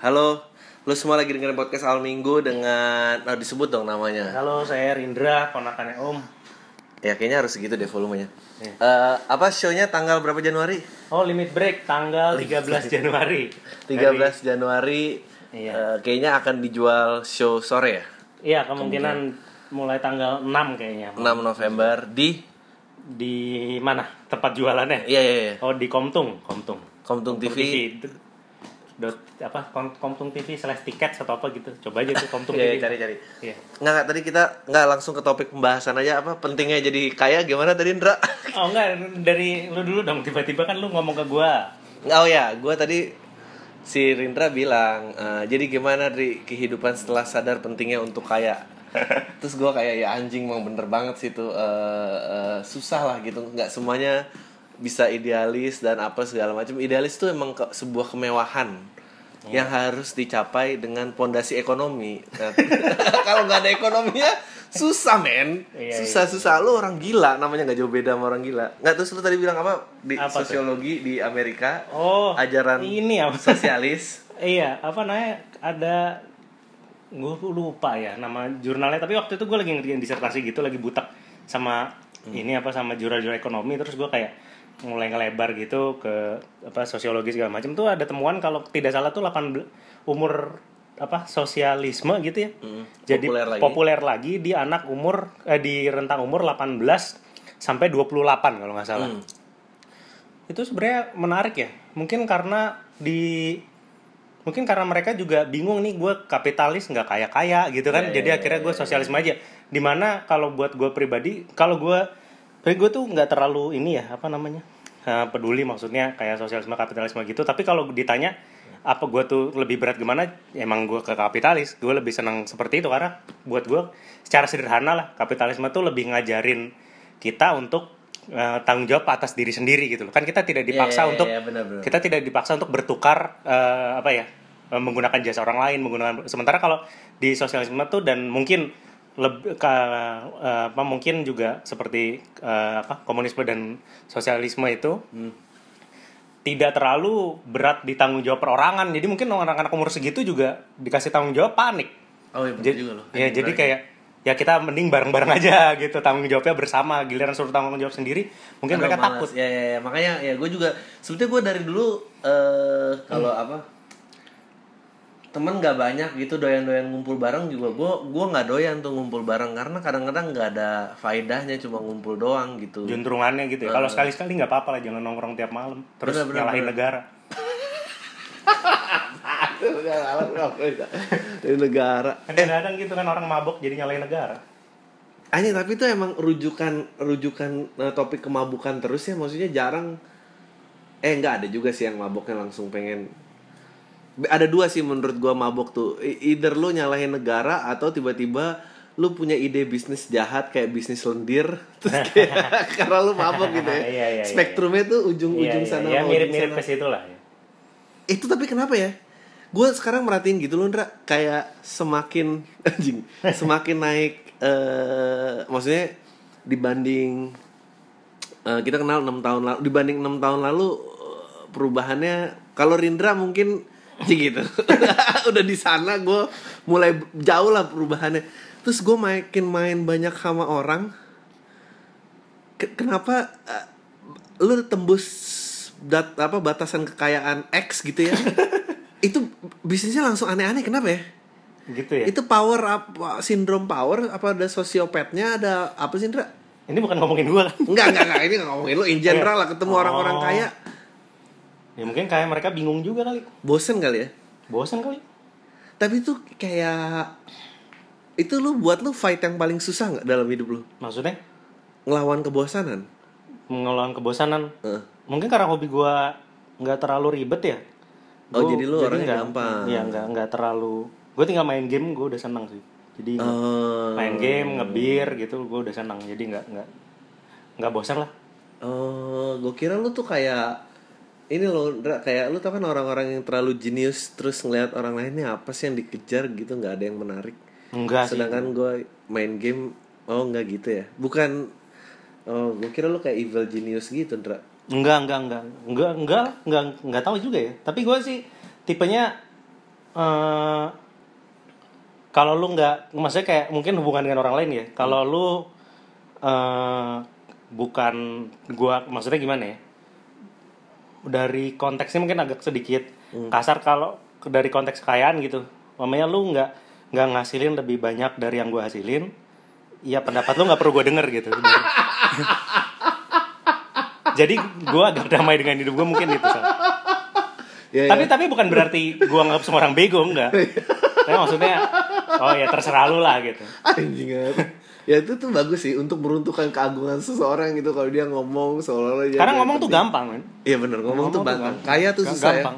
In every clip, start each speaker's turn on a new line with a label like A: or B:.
A: Halo, lu semua lagi dengerin podcast Al Minggu dengan oh, disebut dong namanya.
B: Halo, saya Rindra, ponakannya Om.
A: Ya kayaknya harus gitu deh volumenya.
B: Iya.
A: Eh, apa show-nya tanggal berapa Januari?
B: Oh, limit break tanggal 13 Januari.
A: 13 Januari.
B: Iya.
A: Eh, kayaknya akan dijual show sore ya.
B: Iya, kemungkinan mulai tanggal 6 kayaknya.
A: 6 November di
B: Di mana? Tempat jualannya?
A: Iya iya iya.
B: Oh, di Komtung, Komtung.
A: Komtung Iya, TV.
B: itu- Dot, apa Kom- Komtung TV slash tiket atau apa gitu. Coba aja tuh Komtung
A: Iya, iya,
B: TV.
A: cari-cari.
B: Iya.
A: Nggak, nggak, tadi kita nggak langsung ke topik pembahasan aja apa pentingnya jadi kaya gimana tadi Indra?
B: Oh enggak, dari lu dulu dong. Tiba-tiba kan lu ngomong ke gua.
A: Oh ya, gue tadi si Rindra bilang, "Eh, jadi gimana dari kehidupan setelah sadar pentingnya untuk kaya. Terus gue kayak ya anjing mau bener banget sih tuh Eh, eh, susah lah gitu, nggak semuanya bisa idealis dan apa segala macam. Idealis tuh emang ke- sebuah kemewahan
B: Oh.
A: yang harus dicapai dengan pondasi ekonomi. Nah, Kalau nggak ada ekonominya susah men,
B: Iya,
A: susah susah lu orang gila namanya nggak jauh beda sama orang gila. Nggak terus lu tadi bilang apa di
B: Apa tuh?
A: sosiologi di Amerika
B: Oh,
A: ajaran
B: ini apa?
A: sosialis
B: Iya, apa namanya ada gue lupa ya nama jurnalnya tapi waktu itu gue lagi ngerjain disertasi gitu lagi butak sama ini apa sama jurnal-jurnal ekonomi terus gue kayak mulai ngelebar gitu ke apa sosiologi segala macam tuh ada temuan kalau tidak salah tuh 8 umur apa sosialisme gitu ya. Jadi
A: populer
B: populer
A: lagi.
B: lagi. di anak umur eh, di rentang umur 18 sampai 28 kalau nggak salah itu sebenarnya menarik ya mungkin karena di mungkin karena mereka juga bingung nih gue kapitalis nggak kaya kaya gitu kan jadi akhirnya gue sosialisme aja dimana kalau buat gue pribadi kalau gue gue tuh nggak terlalu ini ya apa namanya eh, peduli maksudnya kayak sosialisme kapitalisme gitu tapi kalau ditanya apa gue tuh lebih berat gimana emang gue ke kapitalis gue lebih senang seperti itu karena buat gue secara sederhana lah kapitalisme tuh lebih ngajarin kita untuk eh, tanggung jawab atas diri sendiri gitu loh kan kita tidak dipaksa
A: Iya, iya,
B: untuk
A: iya, benar, benar.
B: kita tidak dipaksa untuk bertukar eh, apa ya eh, menggunakan jasa orang lain menggunakan sementara kalau di sosialisme tuh dan mungkin lebih apa mungkin juga seperti eh, apa komunisme dan sosialisme itu
A: Hmm.
B: tidak terlalu berat di tanggung jawab perorangan jadi mungkin anak-anak umur segitu juga dikasih tanggung jawab panik
A: oh iya
B: jadi, Ya, jadi kayak ya kita mending bareng-bareng aja gitu tanggung jawabnya bersama giliran suruh tanggung jawab sendiri mungkin mereka takut
A: ya, ya, ya. makanya ya gue juga sebetulnya gue dari dulu eh kalau apa temen gak banyak gitu doyan-doyan ngumpul bareng juga gue gue nggak doyan tuh ngumpul bareng karena kadang-kadang nggak ada faedahnya cuma ngumpul doang gitu
B: juntrungannya gitu ya. Kalau sekali-sekali nggak apa-apa lah, jangan nongkrong tiap malam. Terus
A: Bener, bener,
B: nyalahin
A: bener.
B: negara.
A: dari negara
B: Kadang-kadang gitu kan orang mabok jadi nyalahin negara.
A: Anjing tapi itu emang rujukan rujukan eh, topik kemabukan terus ya maksudnya jarang eh nggak ada juga sih yang maboknya langsung pengen Be- ada dua sih menurut gua mabok tuh E- either lu nyalahin negara atau tiba-tiba lu punya ide bisnis jahat kayak bisnis lendir terus kayak karena lu mabok gitu ya,
B: Iya, iya, iya.
A: spektrumnya tuh ujung-ujung sana
B: ya,
A: sama ujung
B: mirip-mirip
A: sana
B: ke situ lah. ya.
A: itu tapi kenapa ya gue sekarang merhatiin gitu loh Ndra kayak semakin anjing semakin naik eh maksudnya dibanding eh, kita kenal enam tahun lalu dibanding enam tahun lalu eh, perubahannya kalau Rindra mungkin sih gitu udah di sana gue mulai jauh lah perubahannya terus gue makin main banyak sama orang Ke- kenapa eh, lu tembus dat apa batasan kekayaan X gitu ya itu bisnisnya langsung aneh-aneh kenapa ya
B: Gitu ya.
A: itu power apa sindrom power apa ada sosiopatnya ada apa sih Ndra?
B: Ini bukan ngomongin gua kan.
A: Enggak, enggak, enggak. Ini nggak ngomongin lu in general lah ketemu
B: Oh.
A: orang-orang kaya.
B: Ya mungkin kayak mereka bingung juga kali.
A: Bosen kali ya.
B: Bosan kali.
A: Tapi itu kayak itu lu buat lu fight yang paling susah nggak dalam hidup lu?
B: Maksudnya
A: Ngelawan kebosanan.
B: mengelola kebosanan.
A: Heeh.
B: Mungkin karena hobi gua nggak terlalu ribet ya.
A: Oh, jadi lu orangnya
B: nggak-
A: gampang.
B: Iya, nggak nggak terlalu. Gue tinggal main game gue udah senang sih. Jadi nggak-
A: Eh,
B: main game ngebir gitu gue udah senang jadi nggak nggak nggak bosan lah
A: eh, gue kira lu tuh kayak ini lo kayak lu tau kan orang-orang yang terlalu jenius terus ngelihat orang lainnya apa sih yang dikejar gitu nggak ada yang menarik. Nah,
B: enggak sih
A: Sedangkan gue main game oh nggak gitu ya. Bukan oh gue kira lu kayak evil genius gitu Ndra.
B: enggak enggak enggak enggak enggak enggak enggak tahu juga ya tapi gue sih tipenya eh, kalau lu nggak maksudnya kayak mungkin hubungan dengan orang lain ya kalau lu eh, bukan gua maksudnya gimana ya dari konteksnya mungkin agak sedikit kasar kalau dari konteks kekayaan gitu mamanya lu nggak nggak ngasilin lebih banyak dari yang gua hasilin ya pendapat lu nggak perlu gua denger gitu sebenarnya. jadi gua agak damai dengan hidup gua mungkin gitu Sal.
A: Ya,
B: Tapi tapi bukan berarti gua nganggap semua orang bego enggak. tapi maksudnya oh ya terserah lu lah gitu.
A: Iya, Anjing apa? ya itu tuh bagus sih untuk meruntuhkan keagungan seseorang gitu kalau dia ngomong seolah-olah dia
B: Karena ngomong tuh gampang kan.
A: Iya bener ngomong, tuh gampang. Kaya tuh
B: Ga-
A: susah ya.
B: gampang.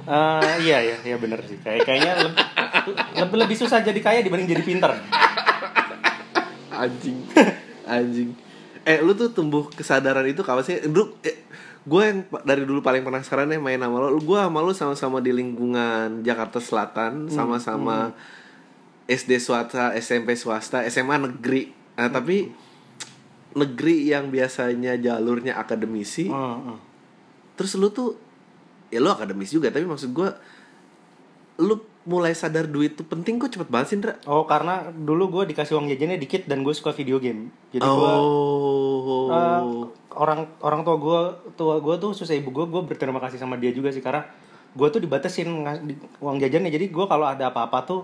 B: Eh, iya iya iya bener sih. Kayak kayaknya leb- lebih lebih susah jadi kaya dibanding jadi pinter.
A: ya. Anjing. Anjing. Eh lu tuh tumbuh kesadaran itu kapan sih? Lu eh, gue yang pa- dari dulu paling penasaran ya main sama lo. Gue sama lo sama-sama di lingkungan Jakarta Selatan,
B: Hmm,
A: sama-sama SD swasta, SMP swasta, SMA negeri. Nah,
B: Hmm.
A: tapi negeri yang biasanya jalurnya akademisi,
B: Heeh.
A: terus lu tuh ya lu akademis juga tapi maksud gua lu mulai sadar duit tuh penting kok cepet banget sih Ndra
B: Oh karena dulu gue dikasih uang jajannya dikit dan gue suka video game. Jadi gue
A: oh
B: Eh, orang orang tua gue tua gue tuh susah ibu gue gue berterima kasih sama dia juga sih karena gue tuh dibatasin ngas- di- uang jajannya jadi gue kalau ada apa-apa tuh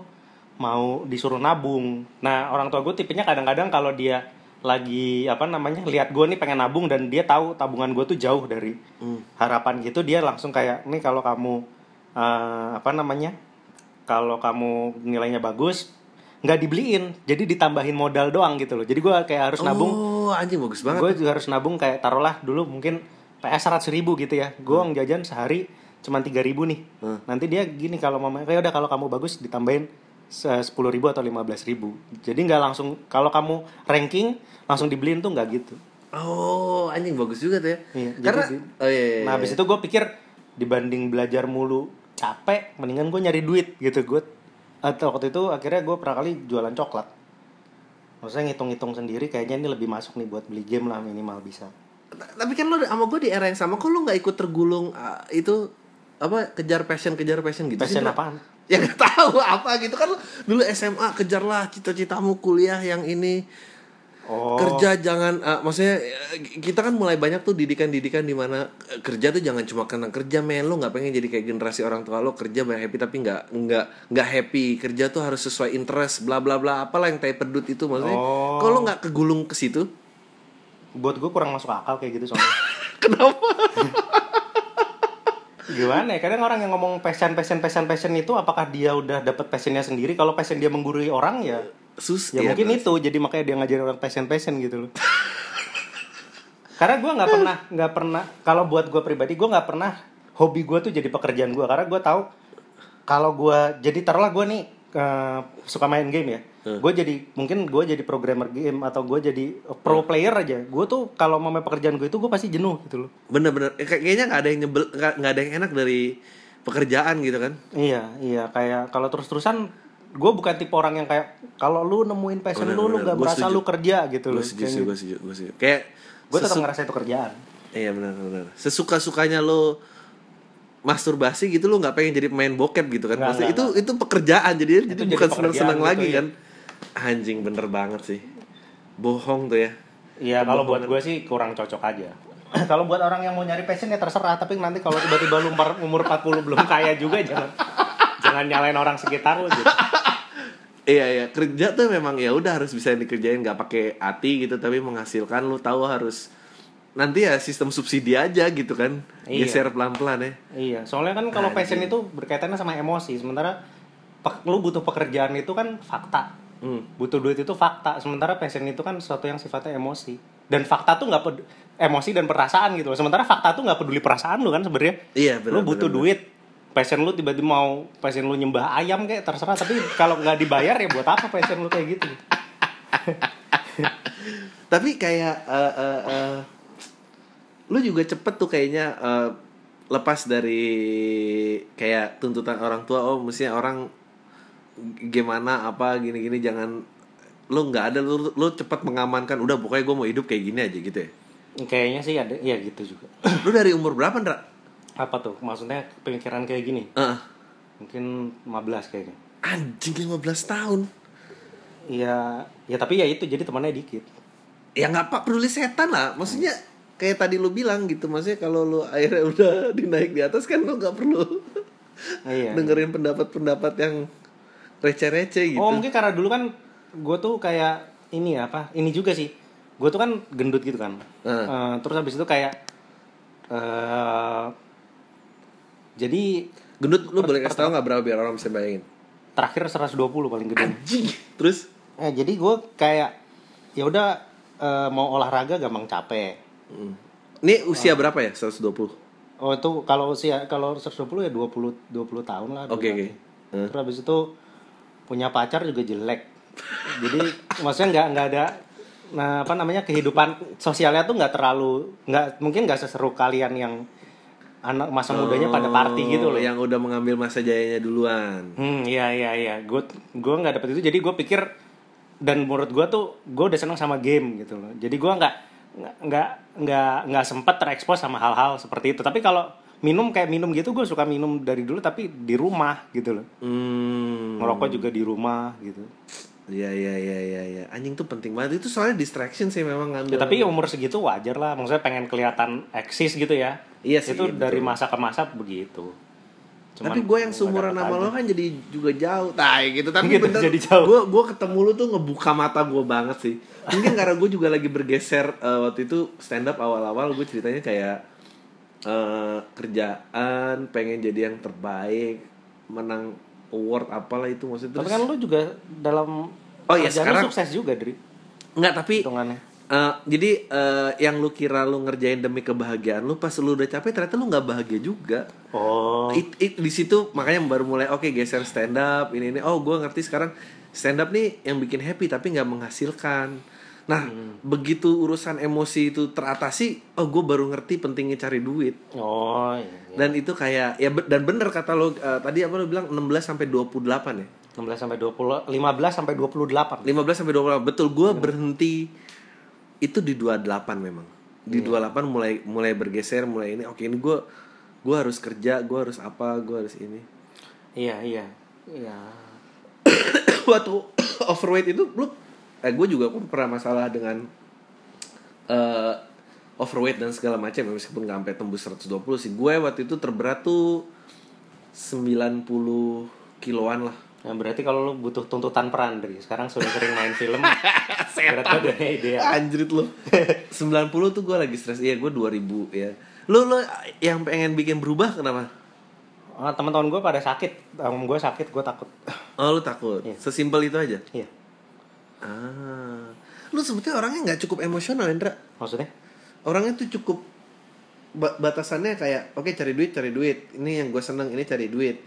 B: mau disuruh nabung nah orang tua gue tipenya kadang-kadang kalau dia lagi apa namanya lihat gue nih pengen nabung dan dia tahu tabungan gue tuh jauh dari harapan gitu dia langsung kayak nih kalau kamu eh, apa namanya kalau kamu nilainya bagus nggak dibeliin jadi ditambahin modal doang gitu loh jadi gue kayak harus nabung
A: oh anjing bagus banget
B: gue juga harus nabung kayak taruhlah dulu mungkin PS 100 ribu gitu ya gue
A: Hmm.
B: uang jajan sehari cuma 3 ribu nih nanti dia gini kalau mama kayak udah kalau kamu bagus ditambahin sepuluh ribu atau 15 ribu jadi nggak langsung kalau kamu ranking langsung dibeliin tuh nggak gitu
A: oh anjing bagus juga tuh ya
B: Iya, jadi
A: karena
B: di-
A: oh iya, iya,
B: nah habis itu gue pikir dibanding belajar mulu capek mendingan gue nyari duit gitu gue atau waktu itu akhirnya gue pernah kali jualan coklat maksudnya ngitung-ngitung sendiri kayaknya ini lebih masuk nih buat beli game lah minimal bisa
A: Ta- tapi kan lu sama gue di era yang sama kok lu nggak ikut tergulung ah, itu apa kejar passion kejar passion gitu sih,
B: passion
A: Ndra?
B: apaan
A: ya gak tahu apa gitu kan lu dulu SMA kejarlah cita-citamu kuliah yang ini
B: Oh.
A: kerja jangan eh, maksudnya eh, kita kan mulai banyak tuh didikan-didikan di mana eh, kerja tuh jangan cuma karena kerja men lo nggak pengen jadi kayak generasi orang tua lo kerja banyak happy tapi nggak nggak nggak happy kerja tuh harus sesuai interest bla bla bla apalah yang tai pedut itu maksudnya
B: Oh.
A: kalau nggak kegulung ke situ
B: buat gue kurang masuk akal kayak gitu soalnya
A: kenapa
B: gimana ya kadang orang yang ngomong passion passion passion passion itu apakah dia udah dapet passionnya sendiri kalau passion dia menggurui orang ya
A: sus
B: ya, mungkin itu jadi makanya dia ngajarin orang passion passion gitu loh karena gue nggak pernah nggak pernah kalau buat gue pribadi gue nggak pernah hobi gue tuh jadi pekerjaan gue karena gue tahu kalau gue jadi taruhlah gue nih eh, suka main game ya
A: Hmm.
B: gue jadi mungkin gue jadi programmer game atau gue jadi pro
A: Hmm.
B: player aja gue tuh kalau mau main pekerjaan gue itu gue pasti jenuh gitu loh
A: bener-bener Eh, kayak- kayaknya nggak ada yang nyebel nggak nggak ada yang enak dari pekerjaan gitu kan
B: Iya, iya kayak kalau terus-terusan gue bukan tipe orang yang kayak kalau lu nemuin passion
A: Bener,
B: lu lu
A: bener.
B: gak
A: Gua
B: merasa
A: setuju.
B: lu kerja gitu loh.
A: gue setuju sih gue setuju gue setuju kayak
B: Gue tetap ngerasa itu kerjaan.
A: iya benar-benar sesuka sukanya lo masturbasi gitu lo nggak pengen jadi pemain bokep gitu kan
B: Nggak,
A: maksudnya
B: nggak,
A: itu itu pekerjaan jadi jadi
B: jadi
A: bukan senang senang
B: pekerjaan
A: lagi
B: gitu,
A: kan anjing bener banget sih bohong tuh ya
B: Iya, kalau buat gue sih kurang cocok aja. kalau buat orang yang mau nyari passion ya terserah, tapi nanti kalau tiba-tiba lu umur- umur 40 belum kaya juga jangan jangan nyalain orang sekitar lu gitu.
A: iya iya kerja tuh memang ya udah harus bisa dikerjain nggak pakai hati gitu tapi menghasilkan lo tahu harus nanti ya sistem subsidi aja gitu kan
B: Iya.
A: geser pelan pelan ya
B: Iya, soalnya kan kalau passion itu berkaitannya sama emosi, sementara pe- lu butuh pekerjaan itu kan fakta.
A: Hmm.
B: Butuh duit itu fakta, sementara passion itu kan sesuatu yang sifatnya emosi. Dan fakta tuh nggak ped- emosi dan perasaan gitu. loh. Sementara fakta tuh nggak peduli perasaan lu kan sebenarnya.
A: Iya, benar,
B: Lu butuh
A: benar,
B: duit. Passion lu tiba-tiba mau passion lu nyembah ayam kayak terserah, tapi kalau nggak dibayar ya buat apa passion lu kayak gitu?
A: tapi kayak eh, eh, eh, lu juga cepet tuh kayaknya eh, lepas dari kayak tuntutan orang tua oh mestinya orang gimana apa gini-gini jangan lu nggak ada lu, lu cepet mengamankan udah pokoknya gue mau hidup kayak gini aja gitu ya
B: Kayaknya sih ada ya gitu juga.
A: lu dari umur berapa Ndra?
B: Apa tuh? Maksudnya pemikiran kayak gini.
A: Heeh.
B: mungkin 15 kayaknya
A: Anjing 15 tahun.
B: Iya, ya tapi ya itu jadi temannya dikit.
A: Ya nggak pak peduli setan lah. Maksudnya kayak tadi lu bilang gitu. Maksudnya kalau lu akhirnya udah dinaik di atas kan lu nggak perlu
B: Iya.
A: dengerin pendapat-pendapat yang receh-receh gitu.
B: Oh mungkin karena dulu kan gue tuh kayak ini ya, apa? Ini juga sih. Gue tuh kan gendut gitu kan.
A: Heeh.
B: Eh, terus habis itu kayak eh jadi
A: Gendut lu boleh kasih tau nggak berapa biar orang bisa bayangin?
B: terakhir 120 paling gede.
A: Anjing. Terus?
B: Eh, jadi gue kayak ya udah eh, mau olahraga gampang capek.
A: Ini usia berapa ya? 120.
B: Oh itu kalau usia kalau 120 ya 20 20 tahun lah.
A: Oke, oke.
B: Terus habis itu punya pacar juga jelek. Jadi maksudnya nggak nggak ada nah apa namanya kehidupan sosialnya tuh nggak terlalu nggak mungkin nggak seseru kalian yang anak masa mudanya pada party
A: Oh,
B: gitu loh.
A: Yang udah mengambil masa jayanya duluan.
B: Hmm, iya iya iya. Gue gue nggak dapet itu. Jadi gue pikir dan menurut gue tuh gue udah seneng sama game gitu loh. Jadi gue nggak nggak- nggak nggak nggak sempat terekspos sama hal-hal seperti itu. Tapi kalau minum kayak minum gitu gue suka minum dari dulu tapi di rumah gitu loh.
A: Hmm.
B: Ngerokok juga di rumah gitu.
A: Iya iya iya iya iya. Anjing tuh penting banget. Itu soalnya distraction sih memang ngambil.
B: Ya, tapi umur segitu wajar lah. Maksudnya pengen kelihatan eksis gitu ya.
A: Iya sih,
B: Itu
A: betul.
B: dari masa ke masa begitu. Cuman
A: tapi gue yang
B: nggak
A: seumuran
B: dapet
A: sama
B: aja.
A: lo kan jadi juga jauh. Nah gitu tapi
B: Gitu,
A: bener.
B: jadi jauh.
A: Gue gue ketemu lu tuh ngebuka mata gue banget sih. Mungkin karena gue juga lagi bergeser eh, waktu itu stand up awal-awal gue ceritanya kayak eh, kerjaan pengen jadi yang terbaik menang award apalah itu maksudnya
B: Tapi
A: terus
B: kan lu juga dalam
A: Oh iya,
B: kerjaan lu
A: sekarang-
B: sukses juga dari
A: nggak tapi
B: hitungannya.
A: Eh, jadi eh, yang lu kira lu ngerjain demi kebahagiaan lu pas lu udah capek ternyata lu nggak bahagia juga.
B: Oh.
A: It, it- di situ makanya baru mulai oke geser stand up ini ini. Oh gue ngerti sekarang stand up nih yang bikin happy tapi nggak menghasilkan. Nah
B: Hmm.
A: begitu urusan emosi itu teratasi, oh gue baru ngerti pentingnya cari duit.
B: Oh. Iya.
A: Dan itu kayak ya be- dan bener kata lo eh, tadi apa lo bilang 16 sampai 28 ya.
B: 16 sampai 20 15 sampai
A: 15
B: 28.
A: sampai 28 betul gue
B: Iya.
A: berhenti itu di 28 memang di
B: Iya.
A: 28 mulai mulai bergeser mulai ini oke ini gue gue harus kerja gue harus apa gue harus ini
B: Iya, iya. Iya.
A: waktu overweight itu lu eh gue juga pun pernah masalah dengan eh overweight dan segala macam ya, meskipun nggak sampai tembus 120 sih gue waktu itu terberat tuh 90 kiloan lah
B: Nah, berarti kalau lu butuh tuntutan peran dari sekarang sudah sering main film. berarti udah ideal.
A: Ya, Anjrit lu 90 tuh gue lagi stres Iya gue 2000 ya Lu lu yang pengen bikin berubah kenapa?
B: Ah, teman-teman gue pada sakit. Om gue sakit, gue takut.
A: Oh lu takut Sesimpel itu aja
B: iya.
A: ah. Lu sebetulnya orangnya nggak cukup emosional Indra
B: Maksudnya?
A: Orangnya tuh cukup ba- Batasannya kayak Oke cari duit cari duit Ini yang gue seneng ini cari duit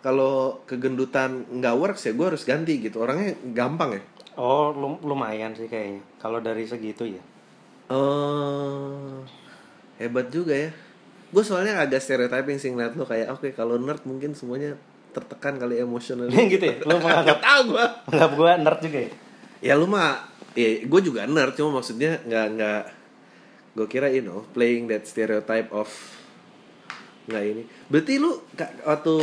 A: Kalau kegendutan nggak works ya gue harus ganti gitu Orangnya gampang ya
B: Oh, lum- lumayan sih kayaknya. Kalau dari segitu ya.
A: Oh, hebat juga ya. Gue soalnya agak stereotyping sih ngeliat lo kayak oke kalau nerd mungkin semuanya tertekan kali emosional.
B: gitu ya. Lu menganggap
A: Gak tau gue.
B: menganggap gue nerd juga ya.
A: Ya lu mah, ya, gue juga nerd cuma maksudnya nggak nggak. Gue kira you know playing that stereotype of nggak ini. Berarti lu ka- waktu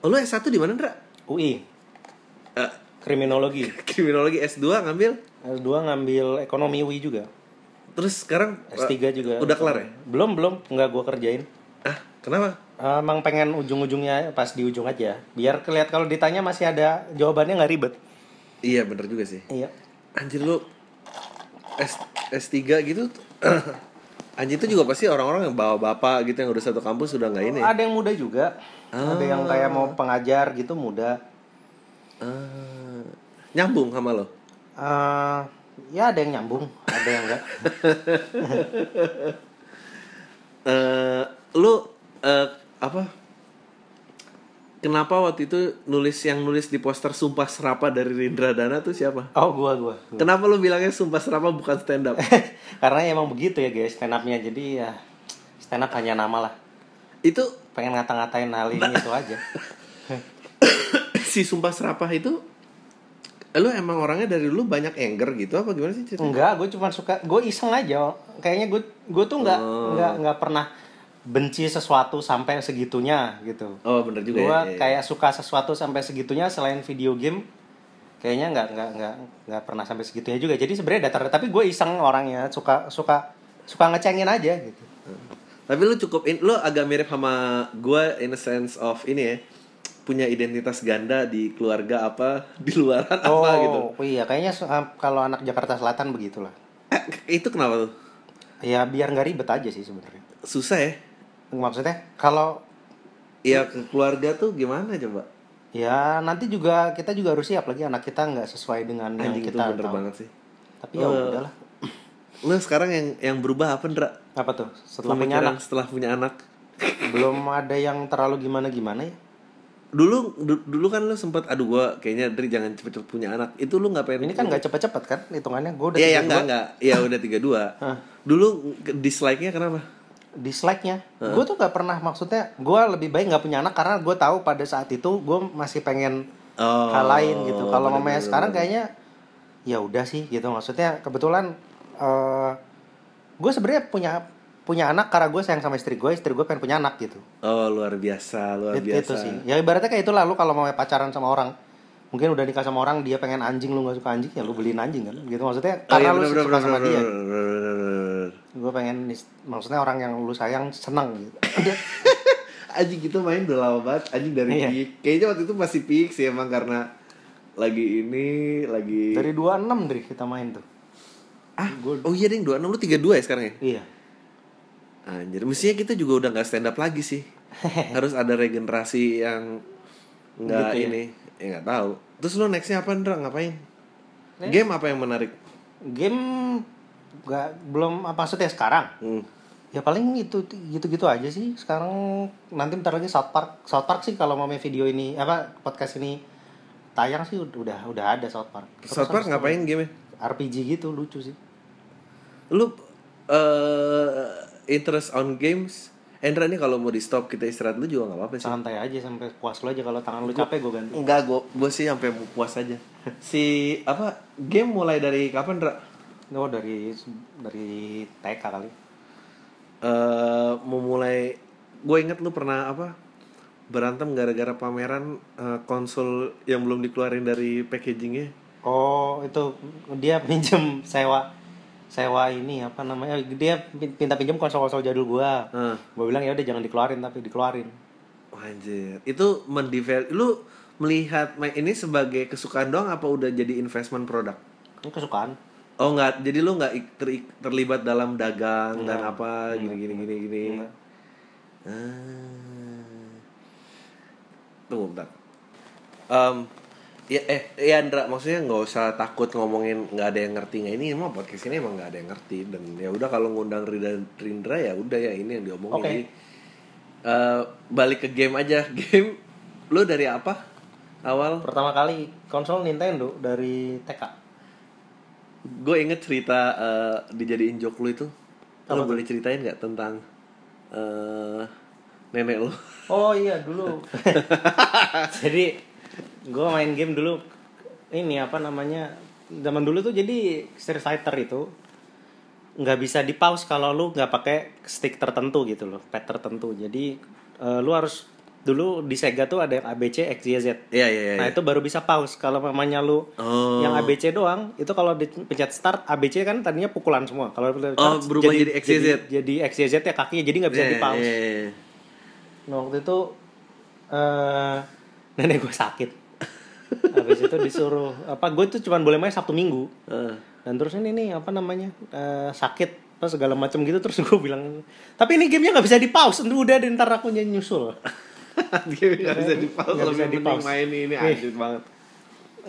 A: oh, lu S1 di mana Ndra?
B: UI,
A: Eh,
B: kriminologi.
A: kriminologi S2 ngambil
B: S2 ngambil ekonomi UI juga.
A: terus sekarang eh,
B: S3 juga.
A: udah kelar ya?
B: Belum, belum. Nggak gue kerjain.
A: Ah, kenapa?
B: Emang pengen ujung-ujungnya pas di ujung aja. Biar kelihat kalau ditanya masih ada jawabannya nggak ribet.
A: Iya bener juga sih.
B: Iya.
A: Anjir lu S, S3 gitu tuh, Anjir itu juga pasti orang-orang yang bawa bapak gitu yang udah satu kampus sudah nggak ini. ya?
B: Ada yang muda juga. Ada yang kayak mau pengajar gitu muda.
A: Ah, nyambung sama lo.
B: Eh, ya ada yang nyambung, ada yang enggak.
A: Eh lu eh, apa? Kenapa waktu itu nulis yang nulis di poster Sumpah Serapa dari Rindra Dana tuh siapa?
B: Oh, gua gua.
A: Kenapa lu bilangnya Sumpah Serapa bukan stand up?
B: Karena emang begitu ya guys stand up-nya. Jadi ya stand up hanya nama lah.
A: itu
B: Pengen ngata-ngatain hal
A: Nah.
B: ini itu aja.
A: si Sumpah Serapa itu lu emang orangnya dari dulu banyak anger gitu apa gimana sih ceritanya? Oh.
B: Enggak, gue cuma suka gue iseng aja. Kayaknya gue gue tuh nggak nggak nggak pernah benci sesuatu sampai segitunya gitu
A: Oh bener juga.
B: gua
A: ya.
B: kayak suka sesuatu sampai segitunya selain video game kayaknya nggak nggak nggak nggak pernah sampai segitunya juga jadi sebenarnya datar tapi gue iseng orangnya suka suka suka ngecengin aja gitu
A: Tapi lu cukup in, lu agak mirip sama gua in a sense of ini ya punya identitas ganda di keluarga apa di luaran apa gitu.
B: oh iya kayaknya su- ah, kalau anak Jakarta Selatan begitulah
A: Eh, itu kenapa tuh?
B: ya biar nggak ribet aja sih sebenarnya
A: Susah ya?
B: maksudnya kalau
A: Ya ke keluarga tuh gimana coba?
B: ya nanti juga kita juga harus siap lagi anak kita nggak sesuai dengan yang
A: Anjing itu
B: kita
A: bener
B: tahu.
A: banget sih.
B: tapi ya
A: Eh.
B: udahlah
A: Lu sekarang yang yang berubah apa Ndra?
B: apa tuh setelah punya
A: Pemikiran
B: anak
A: setelah punya anak.
B: belum ada yang terlalu gimana gimana ya
A: Dulu du- dulu kan lu sempet aduh gua kayaknya Dri jangan cepet-cepet punya anak. Itu lu nggak pengen
B: ini kan nggak cepet-cepet kan hitungannya gue udah
A: Iya, ya,
B: 32.
A: enggak, enggak. Ya udah 32.
B: Hah.
A: Dulu ke- dislike-nya kenapa?
B: dislike-nya. Gue tuh gak pernah maksudnya gue lebih baik nggak punya anak karena gue tahu pada saat itu gue masih pengen
A: Oh,
B: hal lain gitu. Kalau
A: bener,
B: mamanya
A: bener,
B: sekarang
A: bener.
B: kayaknya ya udah sih gitu. Maksudnya kebetulan eh, gue sebenarnya punya punya anak karena gue sayang sama istri gue, istri gue pengen punya anak gitu.
A: Oh, luar biasa, luar
B: It-
A: biasa. Oh,
B: Itu sih. Ya ibaratnya kayak itu lalu kalau mau pacaran sama orang mungkin udah nikah sama orang dia pengen anjing lu nggak suka anjing ya lu beliin anjing kan gitu maksudnya
A: Oh, iya,
B: karena lu
A: bener,
B: suka
A: bener,
B: sama
A: bener,
B: dia
A: bener, bener, bener, bener.
B: gue pengen is- maksudnya orang yang lu sayang senang gitu
A: Anjing itu main udah lama banget Anjing dari
B: Iya.
A: peak Kayaknya waktu itu masih peak sih emang karena Lagi ini Lagi
B: Dari 26 dari kita main tuh.
A: ah, Oh iya ding 26 lu 32 ya sekarang ya
B: Iya.
A: Anjir Mestinya kita juga udah gak stand up lagi sih Harus ada regenerasi yang Gak
B: Gitu ya?
A: ini Ya gak tahu Terus lu nextnya apa Ndra ngapain Game apa yang menarik
B: Game gak belum apa maksudnya sekarang?
A: Hmm.
B: Ya paling itu gitu-gitu aja sih. Sekarang nanti bentar lagi South Park. South Park sih kalau mau main video ini apa podcast ini tayang sih udah udah ada South Park. Terus
A: South Park
B: habis itu
A: ngapain game
B: RPG gitu lucu sih.
A: Lu eh interest on games Endra nih kalau mau di stop kita istirahat lu juga gak apa-apa sih
B: Santai aja sampai puas lo aja kalau tangan lu capek gue ganti.
A: Enggak, gue gue sih sampai mau puas aja. Si apa game mulai dari kapan, Ra?
B: Oh dari dari TK kali.
A: Eh, memulai gue inget lu pernah apa berantem gara-gara pameran eh, konsol yang belum dikeluarin dari packagingnya
B: Oh itu dia pinjem sewa sewa ini apa namanya dia pin- minta pinjem konsol-konsol jadul gua.
A: Heeh.
B: Gua bilang ya udah jangan dikeluarin tapi dikeluarin.
A: Wah, anjir itu mendevelop lu melihat main ini sebagai kesukaan doang apa udah jadi investment produk
B: Ini kesukaan.
A: oh nggak jadi lu nggak ik- teri- terlibat dalam dagang dan apa gini gini gini gini Ah. Tunggu bentar. Em, ya eh ya Andra maksudnya nggak usah takut ngomongin nggak ada yang ngerti nggak ini emang podcast ini emang nggak ada yang ngerti dan ya udah kalau ngundang Rida Rindra ya udah ya ini yang diomongin
B: Oke.
A: Jadi, eh, balik ke game aja game lu dari apa awal
B: Pertama kali konsol Nintendo dari TK.
A: gue inget cerita eh, dijadiin jok lu itu lo boleh ceritain nggak tentang eh, nenek lu
B: Oh iya dulu. jadi gua main game dulu ini apa namanya zaman dulu tuh jadi Street Fighter itu nggak bisa di pause kalau lu nggak pakai stick tertentu gitu loh, pad tertentu. Jadi eh, lu harus dulu di Sega tuh ada yang ABC, X, Y, Z.
A: iya iya iya
B: Nah itu baru bisa pause kalau mamanya lu
A: Oh.
B: yang ABC doang itu kalau dipencet start ABC kan tadinya pukulan semua kalau lu
A: Oh,
B: start,
A: berubah jadi X, Y, Z.
B: jadi, jadi X, Y, Z ya kakinya jadi nggak bisa
A: Iya,
B: di pause
A: iya, iya.
B: Nah, waktu itu eh nenek gue sakit. Habis itu disuruh apa gue tuh cuman boleh main Sabtu Minggu.
A: Eh,
B: Dan terus ini nih apa namanya? eh, sakit terus segala macam gitu terus gue bilang tapi ini gamenya nggak bisa di pause udah deh, ntar aku nyanyi nyusul
A: game nggak bisa di pause
B: Nggak bisa
A: lebih
B: di-pause.
A: mending main ini anjir banget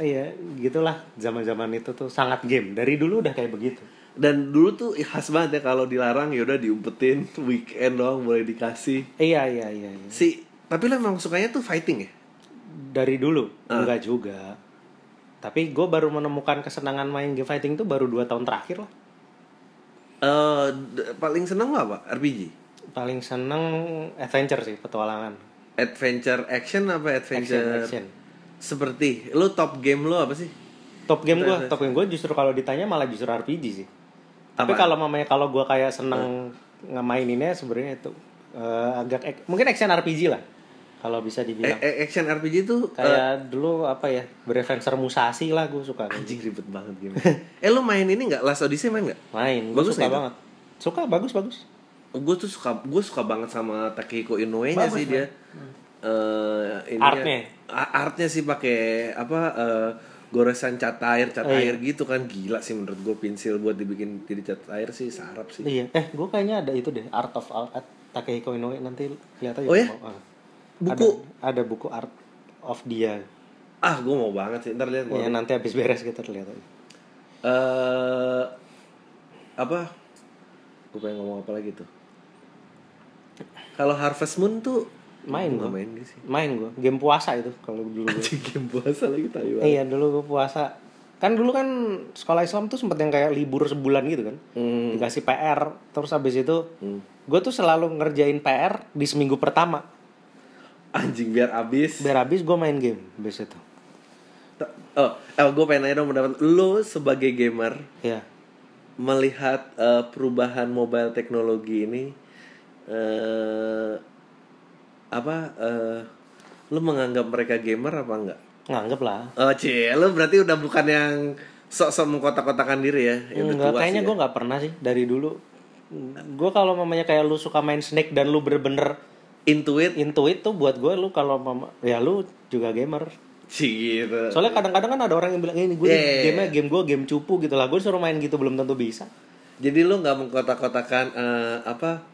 B: iya gitulah zaman zaman itu tuh sangat game dari dulu udah kayak begitu
A: dan dulu tuh khas banget ya kalau dilarang yaudah diumpetin weekend doang boleh dikasih
B: iya iya iya, iya.
A: si tapi lo emang sukanya tuh fighting ya
B: dari dulu
A: Ah.
B: enggak juga tapi gue baru menemukan kesenangan main game fighting tuh baru dua tahun terakhir lah
A: Eh, d- paling seneng lo apa RPG
B: paling seneng adventure sih petualangan
A: adventure action apa
B: action
A: adventure
B: action
A: seperti lo top game lo apa sih
B: top game gue top game gue justru kalau ditanya malah justru RPG sih
A: Apaan? Ah.
B: tapi kalau mamanya kalau gue kayak seneng ngemain ini sebenarnya itu eh, agak ek- mungkin action RPG lah kalau bisa
A: Eh,
B: dibilang
A: eh, action RPG itu eh,
B: kayak dulu apa ya Brevenser Musashi lah gue suka
A: anjing ribet banget game. eh lu main ini nggak? Last Odyssey main nggak?
B: main gue
A: Bagus
B: suka
A: nggak itu?
B: banget suka bagus bagus
A: Gue tuh suka gue suka banget sama Takehiko Inoue nya
B: Bagus,
A: sih dia. Eh, ininya-
B: Artnya.
A: A- artnya sih pakai apa eh, goresan cat air cat
B: Oh, iya.
A: air gitu kan gila sih menurut gue pensil buat dibikin jadi cat air sih sarap sih.
B: iya eh gue kayaknya ada itu deh Art of Art Takehiko Inoue nanti lihat aja
A: Oh ya?
B: kalau- ah.
A: Buku?
B: ada, ada buku Art of dia
A: Ah gue mau banget sih ntar lihat mau.
B: ya, nanti habis beres kita lihat aja
A: Eh, apa? Gue pengen ngomong apa lagi tuh? Kalau Harvest Moon tuh
B: Main
A: gua
B: gua.
A: main gak sih?
B: main gue game puasa itu kalau dulu gua.
A: Anjing game puasa lagi tahu
B: Eh, iya dulu gue puasa kan dulu kan sekolah Islam tuh sempet yang kayak libur sebulan gitu kan
A: Hmm.
B: dikasih PR terus habis itu
A: Hmm.
B: gue tuh selalu ngerjain PR di seminggu pertama
A: Anjing biar abis.
B: biar habis gue main game habis itu
A: Ta- Oh, gue pengen nanya dong pendapat lu sebagai gamer
B: ya
A: melihat eh, perubahan mobile teknologi ini eh apa eh lu menganggap mereka gamer apa enggak?
B: nganggep lah
A: Oh, cie, lu berarti udah bukan yang sok-sok mengkotak-kotakan diri ya. ya udah
B: Enggak,
A: tua
B: kayaknya
A: sih
B: gue nggak pernah sih dari dulu gue kalau mamanya kayak lu suka main snake dan lu bener-bener
A: Intuit
B: intuit tuh buat gue lu kalau mama ya lu juga gamer
A: Cie, gitu.
B: soalnya kadang-kadang kan ada orang yang bilang ini gue
A: Yeah, yeah,
B: game game gue game cupu gitu lah gue suruh main gitu belum tentu bisa
A: Jadi lu nggak mengkotak-kotakan eh, apa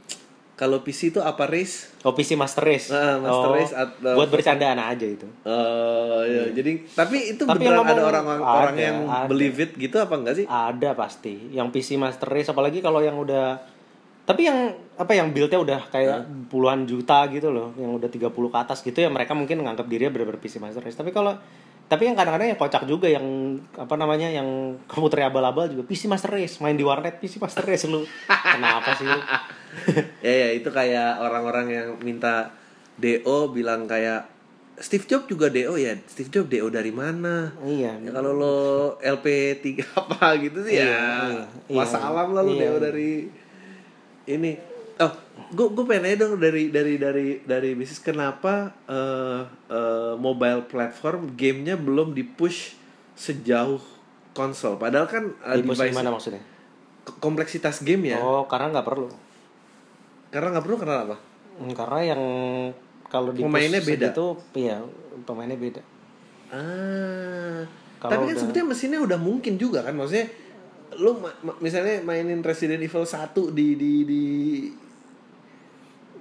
A: kalau PC itu apa race?
B: Oh PC Master Race.
A: Ah, Master
B: Oh,
A: Race atau-
B: buat bercandaan aja itu.
A: eh ya, jadi tapi itu
B: Tapi
A: beneran
B: yang
A: ada
B: ngomong-
A: orang orang,
B: ada,
A: yang
B: ada.
A: believe it gitu apa enggak sih?
B: Ada pasti. Yang PC Master Race apalagi kalau yang udah tapi yang apa yang build-nya udah kayak
A: Hmm.
B: puluhan juta gitu loh, yang udah 30 ke atas gitu ya mereka mungkin nganggap dirinya benar-benar PC Master Race. Tapi kalau tapi yang kadang-kadang yang kocak juga yang apa namanya yang komputer abal-abal juga PC Master Race main di warnet PC Master Race lu. Kenapa sih lu?
A: ya ya itu kayak orang-orang yang minta DO bilang kayak Steve Jobs juga DO ya. Steve Jobs DO dari mana?
B: Iya.
A: Ya, kalau lo LP3 apa gitu sih
B: Iya,
A: ya.
B: iya,
A: Masa
B: iya.
A: alam lah lo
B: Iya.
A: DO dari ini. Oh, gue gue pengen nanya dong dari dari dari dari bisnis kenapa eh, eh, mobile platform gamenya belum dipush sejauh konsol padahal kan eh,
B: Di posisi
A: device-
B: mana maksudnya?
A: k- kompleksitas game ya
B: Oh, karena nggak perlu.
A: karena nggak perlu karena apa
B: Hmm, Karena yang kalau di
A: Pemainnya beda.
B: Itu iya, pemainnya beda.
A: Ah.
B: Kalau
A: tapi kan
B: udah-
A: sebetulnya mesinnya udah mungkin juga kan maksudnya lu ma- ma- misalnya mainin Resident Evil 1 di di di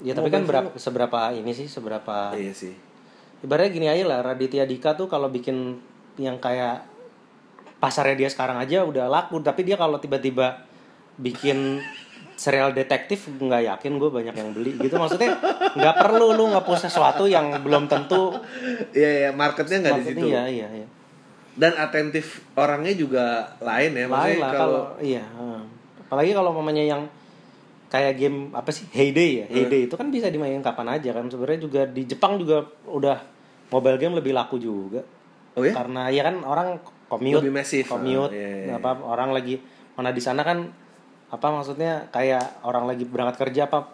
B: Ya tapi
A: Mobile
B: kan berapa seberapa ini sih seberapa
A: iya sih.
B: ibaratnya gini aja lah Raditya Dika tuh kalau bikin yang kayak pasarnya dia sekarang aja udah laku tapi dia kalau tiba-tiba bikin serial detektif nggak yakin gue banyak yang beli gitu maksudnya nggak perlu lu ngepost sesuatu yang belum tentu
A: Iya iya marketnya nggak di situ.
B: Iya iya iya
A: Dan atentif orangnya juga lain ya maksudnya
B: lain lah
A: kalau
B: kalau iya heeh. apalagi kalau mamanya yang kayak game apa sih Heyday ya
A: Iya.
B: Heyday itu kan bisa dimainin kapan aja kan sebenarnya juga di Jepang juga udah mobile game lebih laku juga
A: oh ya
B: karena ya kan orang commute
A: Lebih masif,
B: commute
A: ah, iya, iya.
B: apa orang lagi mana di sana kan apa maksudnya kayak orang lagi berangkat kerja apa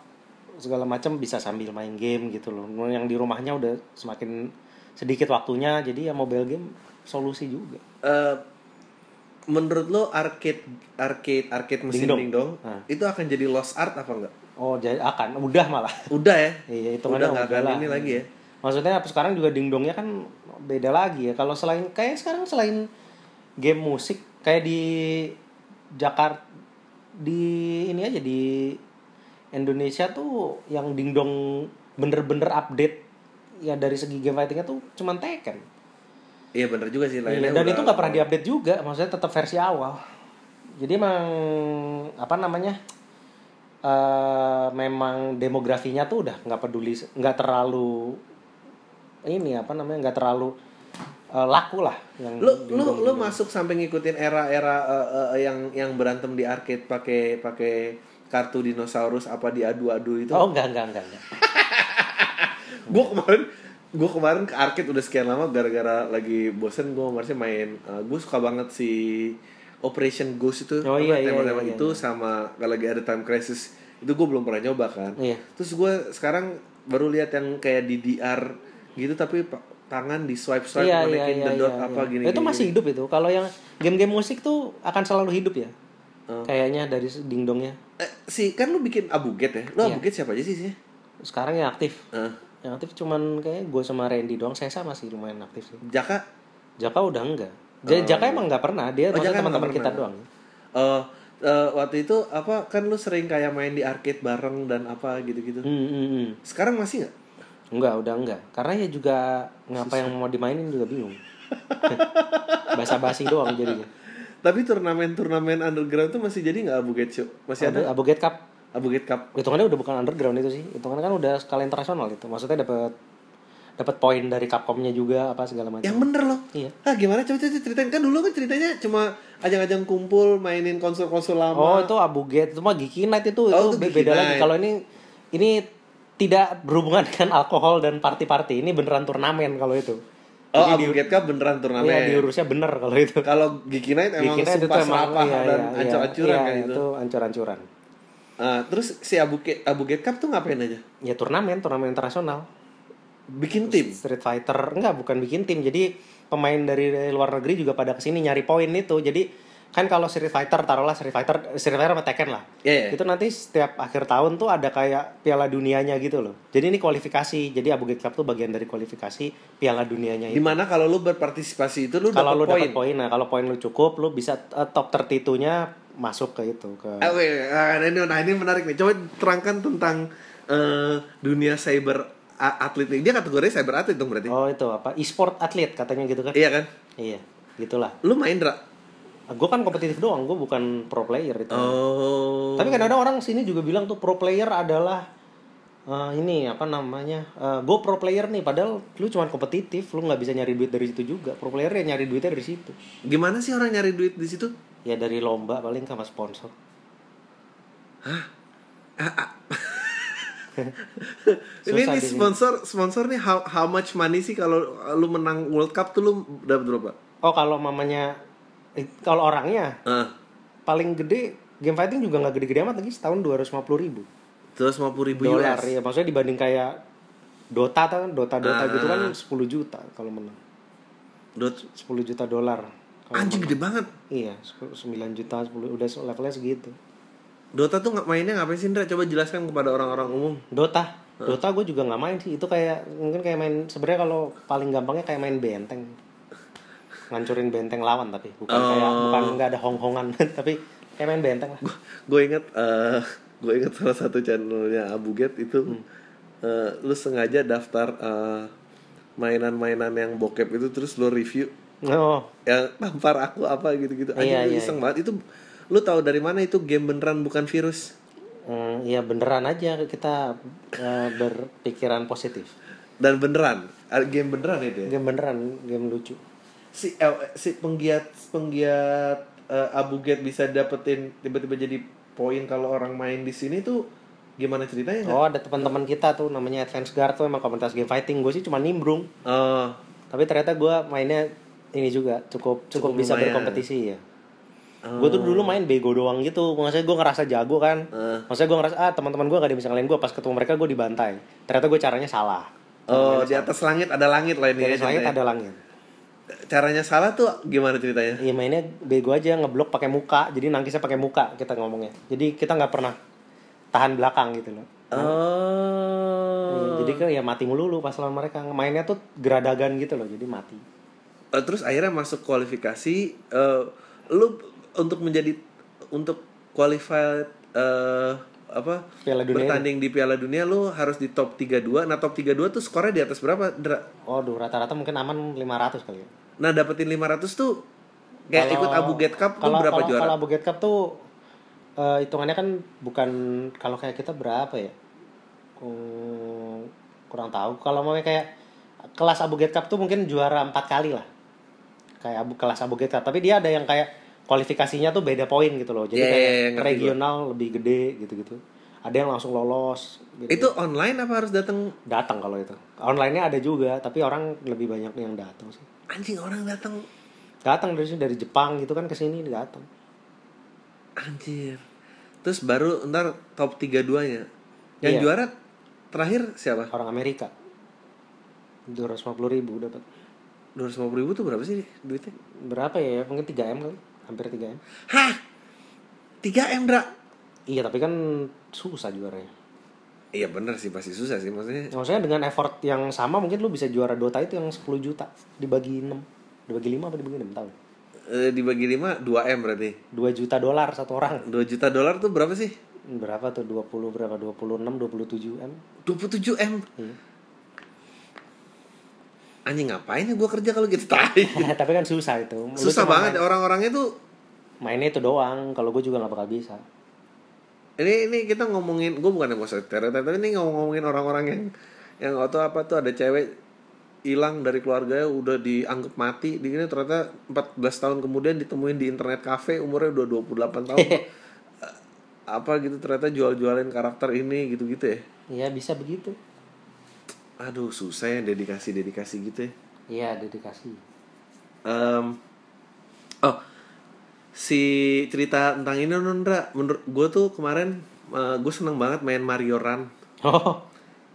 B: segala macam bisa sambil main game gitu loh yang di rumahnya udah semakin sedikit waktunya jadi ya mobile game solusi juga
A: Eh, menurut lo arcade arcade arcade mesin
B: Dingdong.
A: dingdong,
B: Ah.
A: itu akan jadi lost art apa enggak?
B: oh jadi akan udah malah
A: Udah ya.
B: Iya, itu
A: udah nggak akan ini lagi
B: Iya.
A: ya.
B: Maksudnya apa sekarang juga dingdongnya kan beda lagi ya. Kalau selain kayak sekarang selain game musik kayak di Jakarta di ini aja di Indonesia tuh yang dingdong bener-bener update ya dari segi game fightingnya tuh cuman Tekken.
A: Iya bener juga sih
B: Iya,
A: lainnya.
B: dan
A: udah-
B: itu nggak pernah diupdate juga, maksudnya tetap versi awal. Jadi emang apa namanya? eh, memang demografinya tuh udah nggak peduli, nggak terlalu ini apa namanya nggak terlalu eh, laku lah yang
A: lu lu lu masuk sampai ngikutin era-era eh, eh, yang yang berantem di arcade pakai pakai kartu dinosaurus apa diadu-adu itu.
B: oh enggak enggak enggak, enggak.
A: Gua kemarin gua kemarin ke arcade udah sekian lama gara-gara lagi bosen gua kemarin main eh, gua suka banget si Operation Ghost itu
B: Oh,
A: apa,
B: iya, iya,
A: tema-tema
B: iya, iya,
A: itu sama kalau lagi ada time crisis itu gue belum pernah nyoba kan
B: Iya.
A: terus gue sekarang baru lihat yang kayak DDR gitu tapi pa- tangan di swipe swipe
B: Iya, iya,
A: manekin
B: iya,
A: the dot
B: iya,
A: apa
B: iya.
A: gini
B: Itu
A: gini,
B: masih
A: gini.
B: hidup itu. Kalau yang game-game musik tuh akan selalu hidup ya.
A: Oh.
B: Kayaknya dari dingdongnya.
A: Eh, si kan lu bikin abuget ya
B: Iya.
A: lu abuget siapa aja sih sih
B: Sekarang yang aktif.
A: Eh,
B: Yang aktif cuman kayak gue sama Randy doang. Sesa masih lumayan aktif sih.
A: Jaka
B: Jaka udah enggak. Ja- Jaka emang nggak pernah.
A: Oh,
B: Dia Eh, maksudnya
A: Jaka emang
B: teman-teman
A: nggak
B: kita
A: pernah.
B: doang.
A: eh eh, waktu itu apa kan lu sering kayak main di arcade bareng dan apa gitu-gitu
B: Hmm, hmm, hmm.
A: sekarang masih nggak
B: Enggak, udah enggak. Karena ya juga ngapa yang mau dimainin juga bingung. Basa-basi doang jadinya.
A: tapi turnamen-turnamen underground tuh masih jadi nggak abuget show masih ada
B: Abu- Abuget Cup
A: abuget cup
B: hitungannya udah bukan underground itu sih hitungannya kan udah skala internasional itu maksudnya dapat dapat poin dari Capcomnya juga apa segala macam
A: yang bener loh
B: Iya.
A: ah gimana coba coba ceritain kan dulu kan ceritanya cuma ajang-ajang kumpul mainin konsol-konsol lama
B: oh itu abuget itu mah Geeky Night
A: Oh,
B: itu
A: itu
B: itu
A: Geeky
B: beda lagi
A: Night.
B: kalau ini ini tidak berhubungan dengan alkohol dan party-party ini beneran turnamen kalau itu
A: Oh, Abu Get Cup beneran turnamen.
B: Iya diurusnya bener kalau itu
A: Kalau Geeky Night emang
B: Geeky Night
A: sumpah
B: emang-
A: serapah
B: iya,
A: dan
B: iya,
A: ancur-ancuran
B: iya,
A: kan
B: iya,
A: itu.
B: itu ancur-ancuran
A: Ah, terus si Abu Get, Abu Get Cup tuh ngapain aja?
B: ya turnamen turnamen internasional
A: Bikin tim.
B: Street Fighter enggak bukan bikin tim jadi pemain dari dari luar negeri juga pada kesini nyari poin itu jadi kan kalau Street Fighter taruhlah Street Fighter Street Fighter sama Tekken lah
A: Iya, iya.
B: itu nanti setiap akhir tahun tuh ada kayak Piala Dunianya gitu loh jadi ini kualifikasi jadi Abu Ghraib Cup tuh bagian dari kualifikasi Piala Dunianya itu
A: Dimana kalau lu berpartisipasi itu lu
B: kalau lu
A: dapat poin.
B: dapat poin nah kalau poin lu cukup lu bisa eh, top 32-nya masuk ke itu ke
A: Ah, Oke, ah, nah, ini, nah ini menarik nih. Coba terangkan tentang eh, dunia cyber a- atlet nih. Dia kategori cyber atlet dong berarti.
B: oh itu apa e-sport atlet katanya gitu kan
A: Iya kan?
B: iya gitulah
A: Lu main Dra?
B: gue kan kompetitif doang gue bukan pro player itu
A: Oh.
B: Tapi kadang-kadang orang sini juga bilang tuh pro player adalah eh, ini apa namanya? gue pro player nih, padahal lu cuma kompetitif, lu nggak bisa nyari duit dari situ juga. Pro player ya nyari duitnya dari situ.
A: Gimana sih orang nyari duit di situ?
B: Ya dari lomba paling sama sponsor.
A: ini
B: Susah
A: nih
B: di sini.
A: sponsor sponsor nih how, how much money sih kalau lu menang World Cup tuh lu dapat berapa?
B: Oh kalau mamanya, eh, kalau orangnya
A: Ah,
B: paling gede game fighting juga nggak gede-gede amat lagi setahun 250 ribu
A: terus lima ribu
B: dolar
A: US.
B: ya maksudnya dibanding kayak Dota kan Dota Dota gitu kan 10 juta kalau menang
A: Dot-
B: 10 juta dolar kalau
A: anjing gede banget.
B: Iya, 9 juta 10 udah levelnya segitu.
A: Dota tuh nggak mainnya ngapain sih Ndra? Coba jelaskan kepada orang-orang umum.
B: Dota, Dota gue juga nggak main sih. Itu kayak mungkin kayak main sebenarnya kalau paling gampangnya kayak main benteng. Ngancurin benteng lawan tapi bukan kayak bukan nggak ada honghongan tapi kayak main benteng lah.
A: Gue inget, eh gue inget salah satu channelnya Abuget itu
B: Hmm.
A: eh, lu sengaja daftar eh, mainan-mainan yang bokep itu terus lu review
B: Oh,
A: yang tampar aku apa gitu-gitu. Anjing
B: Iya,
A: lu
B: iya,
A: iseng banget itu. Lu tahu dari mana itu game beneran bukan virus?
B: mm, iya beneran aja kita eh, berpikiran positif.
A: Dan beneran, Eh, game beneran itu ya.
B: Game beneran, game lucu.
A: si eh, si penggiat penggiat eh, Abu Get bisa dapetin tiba-tiba jadi poin kalau orang main di sini tuh gimana ceritanya? nggak?
B: Oh, ada teman-teman kita tuh namanya Advance Guard tuh emang komunitas game fighting. Gue sih cuma nimbrung.
A: Oh,
B: tapi ternyata gue mainnya ini juga cukup cukup,
A: Cukup lumayan.
B: bisa
A: Oh.
B: berkompetisi ya gue tuh dulu main bego doang gitu maksudnya gue ngerasa jago kan
A: Eh.
B: maksudnya gue ngerasa ah teman-teman gue gak ada yang bisa ngelain gue pas ketemu mereka gue dibantai ternyata gue caranya salah
A: oh di atas langit ada langit lah ini.
B: dari
A: ya,
B: langit
A: ceritanya.
B: ada langit
A: Caranya salah tuh gimana ceritanya?
B: Iya mainnya bego aja ngeblok pakai muka jadi nangkisnya pakai muka kita ngomongnya jadi kita nggak pernah tahan belakang gitu loh Iya,
A: Oh.
B: jadi kayak ya mati mulu lu pas lawan mereka mainnya tuh geradagan gitu loh jadi mati
A: Eh, Terus akhirnya masuk kualifikasi eh, lu untuk menjadi untuk qualified eh, apa
B: Piala Dunia
A: bertanding di Piala Dunia lu harus di top 32. Nah, top 32 tuh skornya di atas berapa? Dra?
B: Waduh rata-rata mungkin aman 500 kali ya
A: Nah dapetin 500 tuh kayak ikut Abu Get Cup tuh
B: kalau-
A: berapa
B: kalau-
A: juara?
B: Kalau Abu Get Cup tuh eh, hitungannya kan bukan kalau kayak kita berapa ya? Hmm, kurang tahu. Kalau mau kayak kelas Abu Get Cup tuh mungkin juara empat kali lah. Kayak Abu kelas Abu Get Cup. Tapi dia ada yang kayak kualifikasinya tuh beda poin gitu loh. Jadi
A: Iya,
B: kayak
A: iya, iya, ngerti
B: regional lebih gede gitu-gitu. Ada yang langsung lolos. gitu.
A: Itu online apa harus datang?
B: datang kalau itu. Online-nya ada juga, tapi orang lebih banyak yang datang sih.
A: Anjing orang datang.
B: Datang dari dari Jepang gitu kan ke sini datang.
A: Anjir. Terus baru ntar top 3 duanya. Yang
B: Iya.
A: juara terakhir siapa?
B: orang Amerika 250.000 ribu dapat
A: 250 ribu tuh berapa sih duitnya?
B: berapa ya mungkin 3 m kali hampir 3 m
A: Hah? 3 M, Dra?
B: iya tapi kan susah juaranya
A: Iya bener sih, pasti susah sih maksudnya.
B: maksudnya dengan effort yang sama mungkin lu bisa juara Dota itu yang 10 juta dibagi 6 dibagi 5 apa dibagi 6 tahu
A: Eh, dibagi 5, 2 M berarti.
B: 2 juta dolar satu orang
A: 2 juta dolar tuh berapa sih?
B: berapa tuh 20 berapa 26 27 m
A: 27 M. Anjing ngapain ya gue kerja kalau gitu tai.
B: tapi kan susah itu Lu
A: Susah
B: cuma
A: banget orang-orangnya tuh
B: mainnya itu doang kalau gue juga nggak bakal bisa
A: ini ini kita ngomongin gue bukan yang mau stereotip tapi ini ngomong ngomongin orang-orang yang yang atau apa tuh ada cewek hilang dari keluarganya udah dianggap mati di ini ternyata 14 tahun kemudian ditemuin di internet cafe umurnya udah 28 tahun Eh, apa gitu ternyata jual-jualin karakter ini gitu-gitu ya
B: Iya bisa begitu
A: aduh susah ya dedikasi dedikasi gitu ya
B: iya dedikasi
A: Em, oh si cerita tentang ini Nondra menurut gue tuh kemarin gue seneng banget main Mario Run
B: oh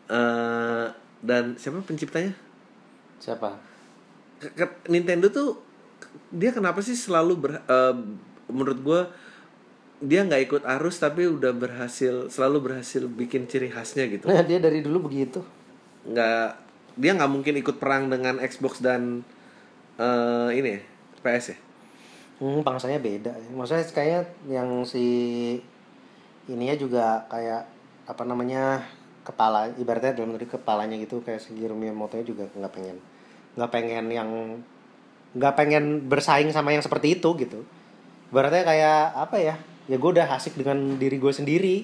A: eh dan siapa penciptanya?
B: siapa
A: Ke- ke- Nintendo tuh dia kenapa sih selalu ber, eh, menurut gua dia nggak ikut arus tapi udah berhasil selalu berhasil bikin ciri khasnya gitu.
B: nah dia dari dulu begitu
A: Nggak dia nggak mungkin ikut perang dengan Xbox dan eh ini ya, PS ya.
B: hmm, bangsanya beda ya. maksudnya kayaknya yang si ininya juga kayak apa namanya kepala ibaratnya dalam negeri kepalanya gitu kayak si Giro Miyamoto juga nggak pengen nggak pengen yang nggak pengen bersaing sama yang seperti itu gitu ibaratnya kayak apa ya ya gue udah asik dengan diri gue sendiri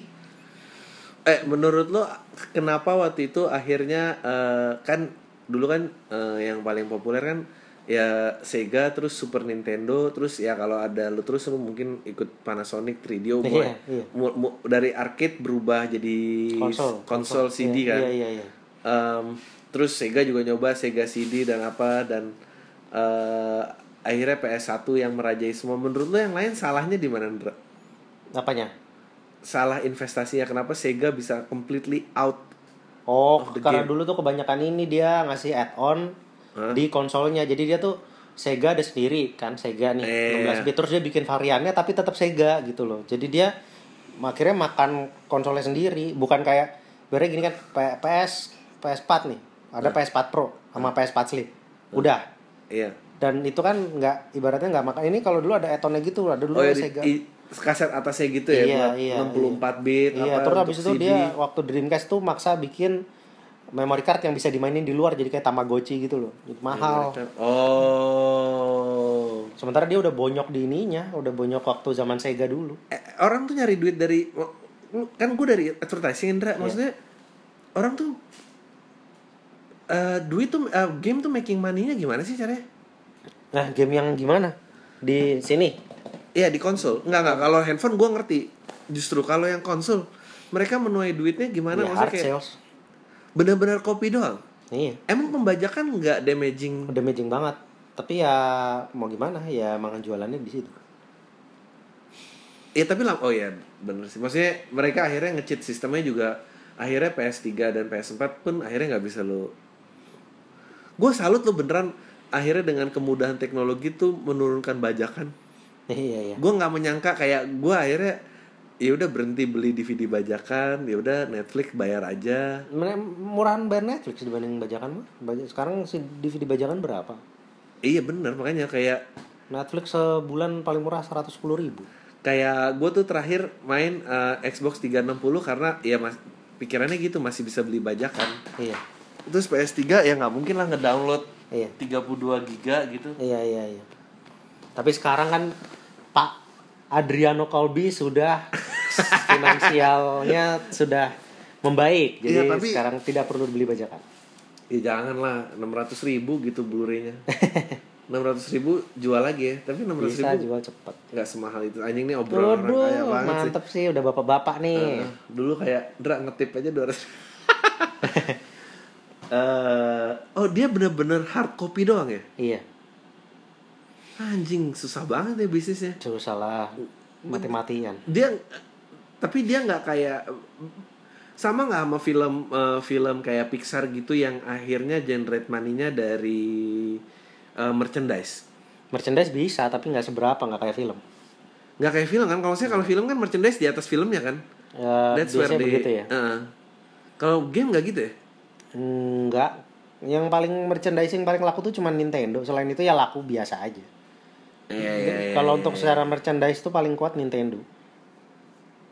A: Eh menurut lo kenapa waktu itu akhirnya eh, kan dulu kan eh, yang paling populer kan ya Sega terus Super Nintendo terus ya kalau ada lo terus lo mungkin ikut Panasonic 3DO boy.
B: Iya, iya.
A: Mu- mu- dari arcade berubah jadi
B: konsol
A: konsol CD
B: Iya,
A: kan.
B: iya iya iya
A: Em, terus Sega juga nyoba Sega CD dan apa dan eh, akhirnya PS1 yang merajai semua. Menurut lo yang lain salahnya di mana? Ndra?
B: apanya
A: Salah investasinya kenapa Sega bisa completely out
B: Oh,
A: Of the
B: karena
A: game.
B: dulu tuh kebanyakan ini dia ngasih add-on di konsolnya. Jadi dia tuh Sega ada sendiri kan Sega nih
A: Iya.
B: 16 bit terus dia bikin variannya tapi tetap Sega gitu loh. Jadi dia akhirnya makan konsolnya sendiri, bukan kayak berarti gini kan P- PS PS4 nih. Ada PS4 Pro sama PS4 Slim. Udah.
A: Iya.
B: Dan itu kan nggak ibaratnya nggak makan ini kalau dulu ada add-onnya gitu, ada
A: Oh,
B: dulu
A: ya,
B: ada
A: di-
B: Sega.
A: i- kaset atasnya gitu ya
B: Iya,
A: buat
B: iya,
A: 64 bit
B: Iya,
A: apa
B: terus
A: Nah, untuk
B: habis itu
A: CD.
B: dia waktu Dreamcast tuh maksa bikin memory card yang bisa dimainin di luar jadi kayak Tamagotchi gitu loh. Jadi
A: Iya,
B: mahal.
A: Oh.
B: Sementara dia udah bonyok di ininya, udah bonyok waktu zaman Sega dulu.
A: Eh, orang tuh nyari duit dari kan gue dari advertising
B: Iya.
A: Indra maksudnya orang tuh eh duit tuh eh, game tuh making money-nya gimana sih caranya?
B: Nah, game yang gimana? Di sini.
A: Iya di konsol. Enggak enggak kalau handphone gue ngerti. Justru kalau yang konsol mereka menuai duitnya gimana
B: Ya,
A: maksudnya
B: hard
A: kayak
B: sales.
A: benar-benar kopi doang.
B: Iya,
A: Emang pembajakan nggak damaging
B: udah amazing banget. Tapi ya mau gimana? Ya emang jualannya di situ.
A: Ya tapi lam- oh ya bener sih. Maksudnya mereka akhirnya nge-cheat sistemnya juga akhirnya PS3 dan PS4 pun akhirnya nggak bisa lo. Gue salut lo beneran akhirnya dengan kemudahan teknologi tuh menurunkan bajakan.
B: Iya, iya.
A: Gue nggak menyangka kayak gue akhirnya ya udah berhenti beli DVD bajakan, ya udah Netflix bayar aja.
B: Mer- Murahan bayar Netflix dibanding bajakan mah. Baj- Sekarang si DVD bajakan berapa?
A: Iya bener makanya kayak
B: Netflix sebulan paling murah 110 ribu.
A: kayak gue tuh terakhir main eh, Xbox 360 karena ya mas pikirannya gitu masih bisa beli bajakan.
B: Iya.
A: Terus PS3 ya nggak mungkin lah ngedownload
B: Iya.
A: 32 giga gitu.
B: Iya iya iya. Tapi sekarang kan Pak Adriano Kolbi sudah finansialnya sudah membaik. Jadi
A: Iya, tapi-
B: sekarang tidak perlu beli bajakan.
A: Ya jangan lah 600 ribu gitu Blu-raynya. 600 ribu jual lagi ya. Tapi 600
B: Bisa
A: ribu
B: jual cepat.
A: nggak semahal itu. Anjing nih obrolan orang kaya
B: Waduh,
A: banget sih.
B: mantep sih udah bapak-bapak nih.
A: Nah, dulu kayak Dra ngetip aja 200 Eh, oh dia bener-bener hard copy doang ya
B: Iya,
A: anjing susah banget ya bisnisnya
B: susah lah mati-matian.
A: dia tapi dia nggak kayak sama nggak sama film eh, film kayak Pixar gitu yang akhirnya generate money-nya dari eh, merchandise
B: merchandise bisa tapi nggak seberapa nggak kayak film
A: nggak kayak film kan kalau saya kalau film kan merchandise di atas filmnya kan
B: Ya,
A: that's where
B: biasanya
A: they
B: begitu ya
A: eh. kalau game nggak gitu ya
B: nggak yang paling merchandising paling laku tuh cuma Nintendo selain itu ya laku biasa aja
A: Iya,
B: kalau untuk secara merchandise tuh paling kuat Nintendo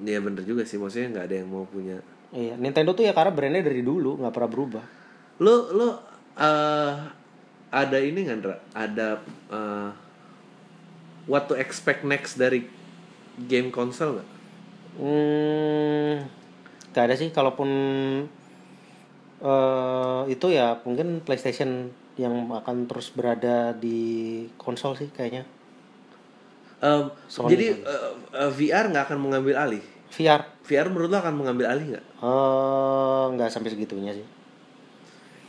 A: Iya bener juga sih, maksudnya nggak ada yang mau punya.
B: iya Nintendo tuh ya karena brandnya dari dulu nggak pernah berubah
A: Lo lo eh, ada ini nggak, Ndra? Ada eh, what to expect next dari game konsol nggak?
B: Hmm, gak ada sih, kalaupun eh itu ya mungkin PlayStation yang akan terus berada di konsol sih kayaknya.
A: Em,
B: Sony kan?
A: jadi eh, eh, VR nggak akan mengambil alih.
B: VR
A: VR menurut lo akan mengambil alih nggak?
B: eh nggak sampai segitunya sih.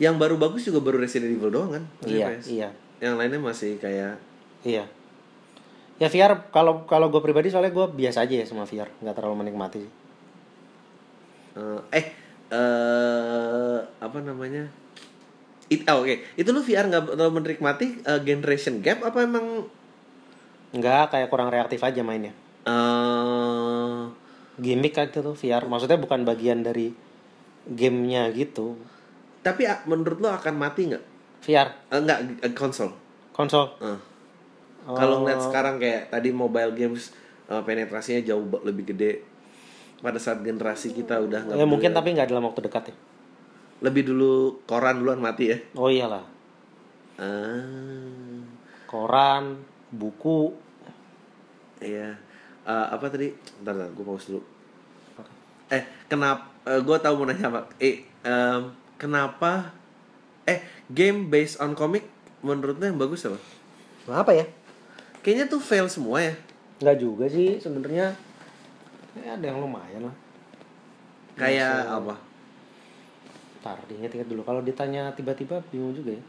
A: Yang baru bagus juga baru Resident Evil doang kan? Maksudnya
B: Iya,
A: PS.
B: iya,
A: Yang lainnya masih kayak
B: iya. Ya VR kalau kalau gue pribadi soalnya gue biasa aja ya sama VR, nggak terlalu menikmati sih.
A: eh, eh eh, apa namanya? It, oh, Oke, itu lo VR nggak terlalu menikmati eh, generation gap apa emang
B: Nggak kayak kurang reaktif aja mainnya.
A: eh
B: Gimmick kan itu tuh VR, maksudnya bukan bagian dari gamenya gitu.
A: tapi a- menurut lo akan mati nggak?
B: VR
A: Eh, Nggak eh, konsol.
B: konsol Oh.
A: Eh. Kalau ngeliat sekarang kayak tadi mobile games eh, penetrasinya jauh ba- lebih gede. Pada saat generasi kita udah nggak
B: Ya mungkin tapi nggak dalam waktu dekat ya.
A: lebih dulu koran duluan mati ya.
B: Oh iyalah,
A: Ah,
B: koran, buku,
A: iya. Eh, apa tadi? Ntar, ntar gue pause dulu. Eh, kenapa? gue tahu mau nanya apa. Eh, em, kenapa? Eh, game based on comic menurutnya yang bagus apa?
B: apa ya?
A: Kayaknya tuh fail semua ya.
B: Nggak juga sih sebenarnya. Ya, ada yang lumayan lah.
A: Kayak apa?
B: Ntar diinget-inget dulu. Kalau ditanya tiba-tiba bingung juga ya.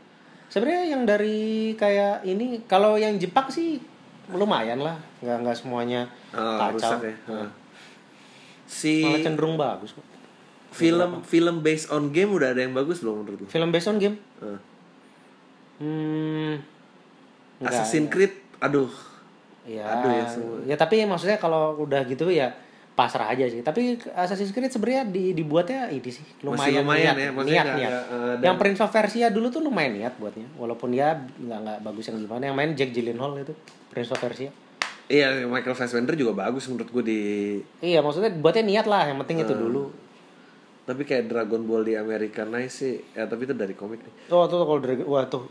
B: Sebenarnya yang dari kayak ini, kalau yang Jepang sih lumayan lah. Nggak nggak semuanya
A: Oh,
B: kacau. Iya.
A: rusak ya. Oh. Si
B: Malah Iya. cenderung bagus kok.
A: film film based on game udah ada yang bagus belum menurut lu? Ah.
B: Film based on game.
A: Heeh.
B: Hmm. nggak,
A: Assassin's Creed, aduh.
B: Ya,
A: Aduh, ya
B: ya,
A: semua.
B: tapi maksudnya kalau udah gitu ya pasrah aja sih. Tapi Assassin's Creed sebenarnya di, dibuatnya ini sih lumayan,
A: lumayan
B: niat,
A: ya, maksudnya
B: niat,
A: nggak-
B: niat.
A: nggak, eh,
B: yang Prince of Persia dulu tuh lumayan niat buatnya, walaupun ya nggak nggak bagus yang gimana. Yang main Jack Gyllenhaal itu Prince of Persia.
A: Iya, Michael Fassbender juga bagus menurut gue di
B: Iya, maksudnya buatnya niat lah. Yang penting itu
A: Eh.
B: dulu.
A: tapi kayak Dragon Ball di American Nice sih, ya tapi itu dari komik nih.
B: Oh, tuh kalau Dragon- wah tuh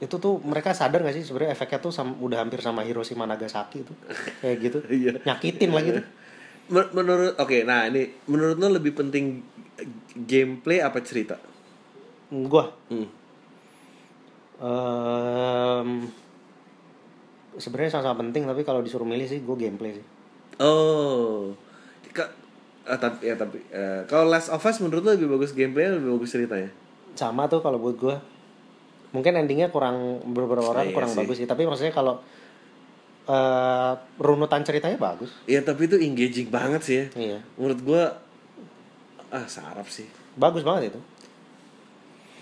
B: itu tuh mereka sadar gak sih sebenarnya efeknya tuh sam- udah hampir sama Hiroshima Nagasaki itu kayak gitu
A: Iya.
B: nyakitin lagi tuh
A: Men- Menurut oke, nah ini menurut lo lebih penting gameplay apa cerita?
B: gua
A: Hmm.
B: Ehm, sebenarnya sama-sama penting tapi kalau disuruh milih sih gue gameplay sih
A: Oh. Ka- ah, tapi ya tapi eh, kalau Last of Us menurut lo lebih bagus gameplay atau lebih bagus ceritanya?
B: sama tuh kalau buat gue mungkin endingnya kurang beberapa orang
A: iya
B: kurang
A: sih.
B: bagus sih tapi maksudnya kalau eh, runutan ceritanya bagus
A: Iya tapi itu engaging banget sih ya.
B: iya
A: Menurut gua ah sarap sih.
B: bagus banget itu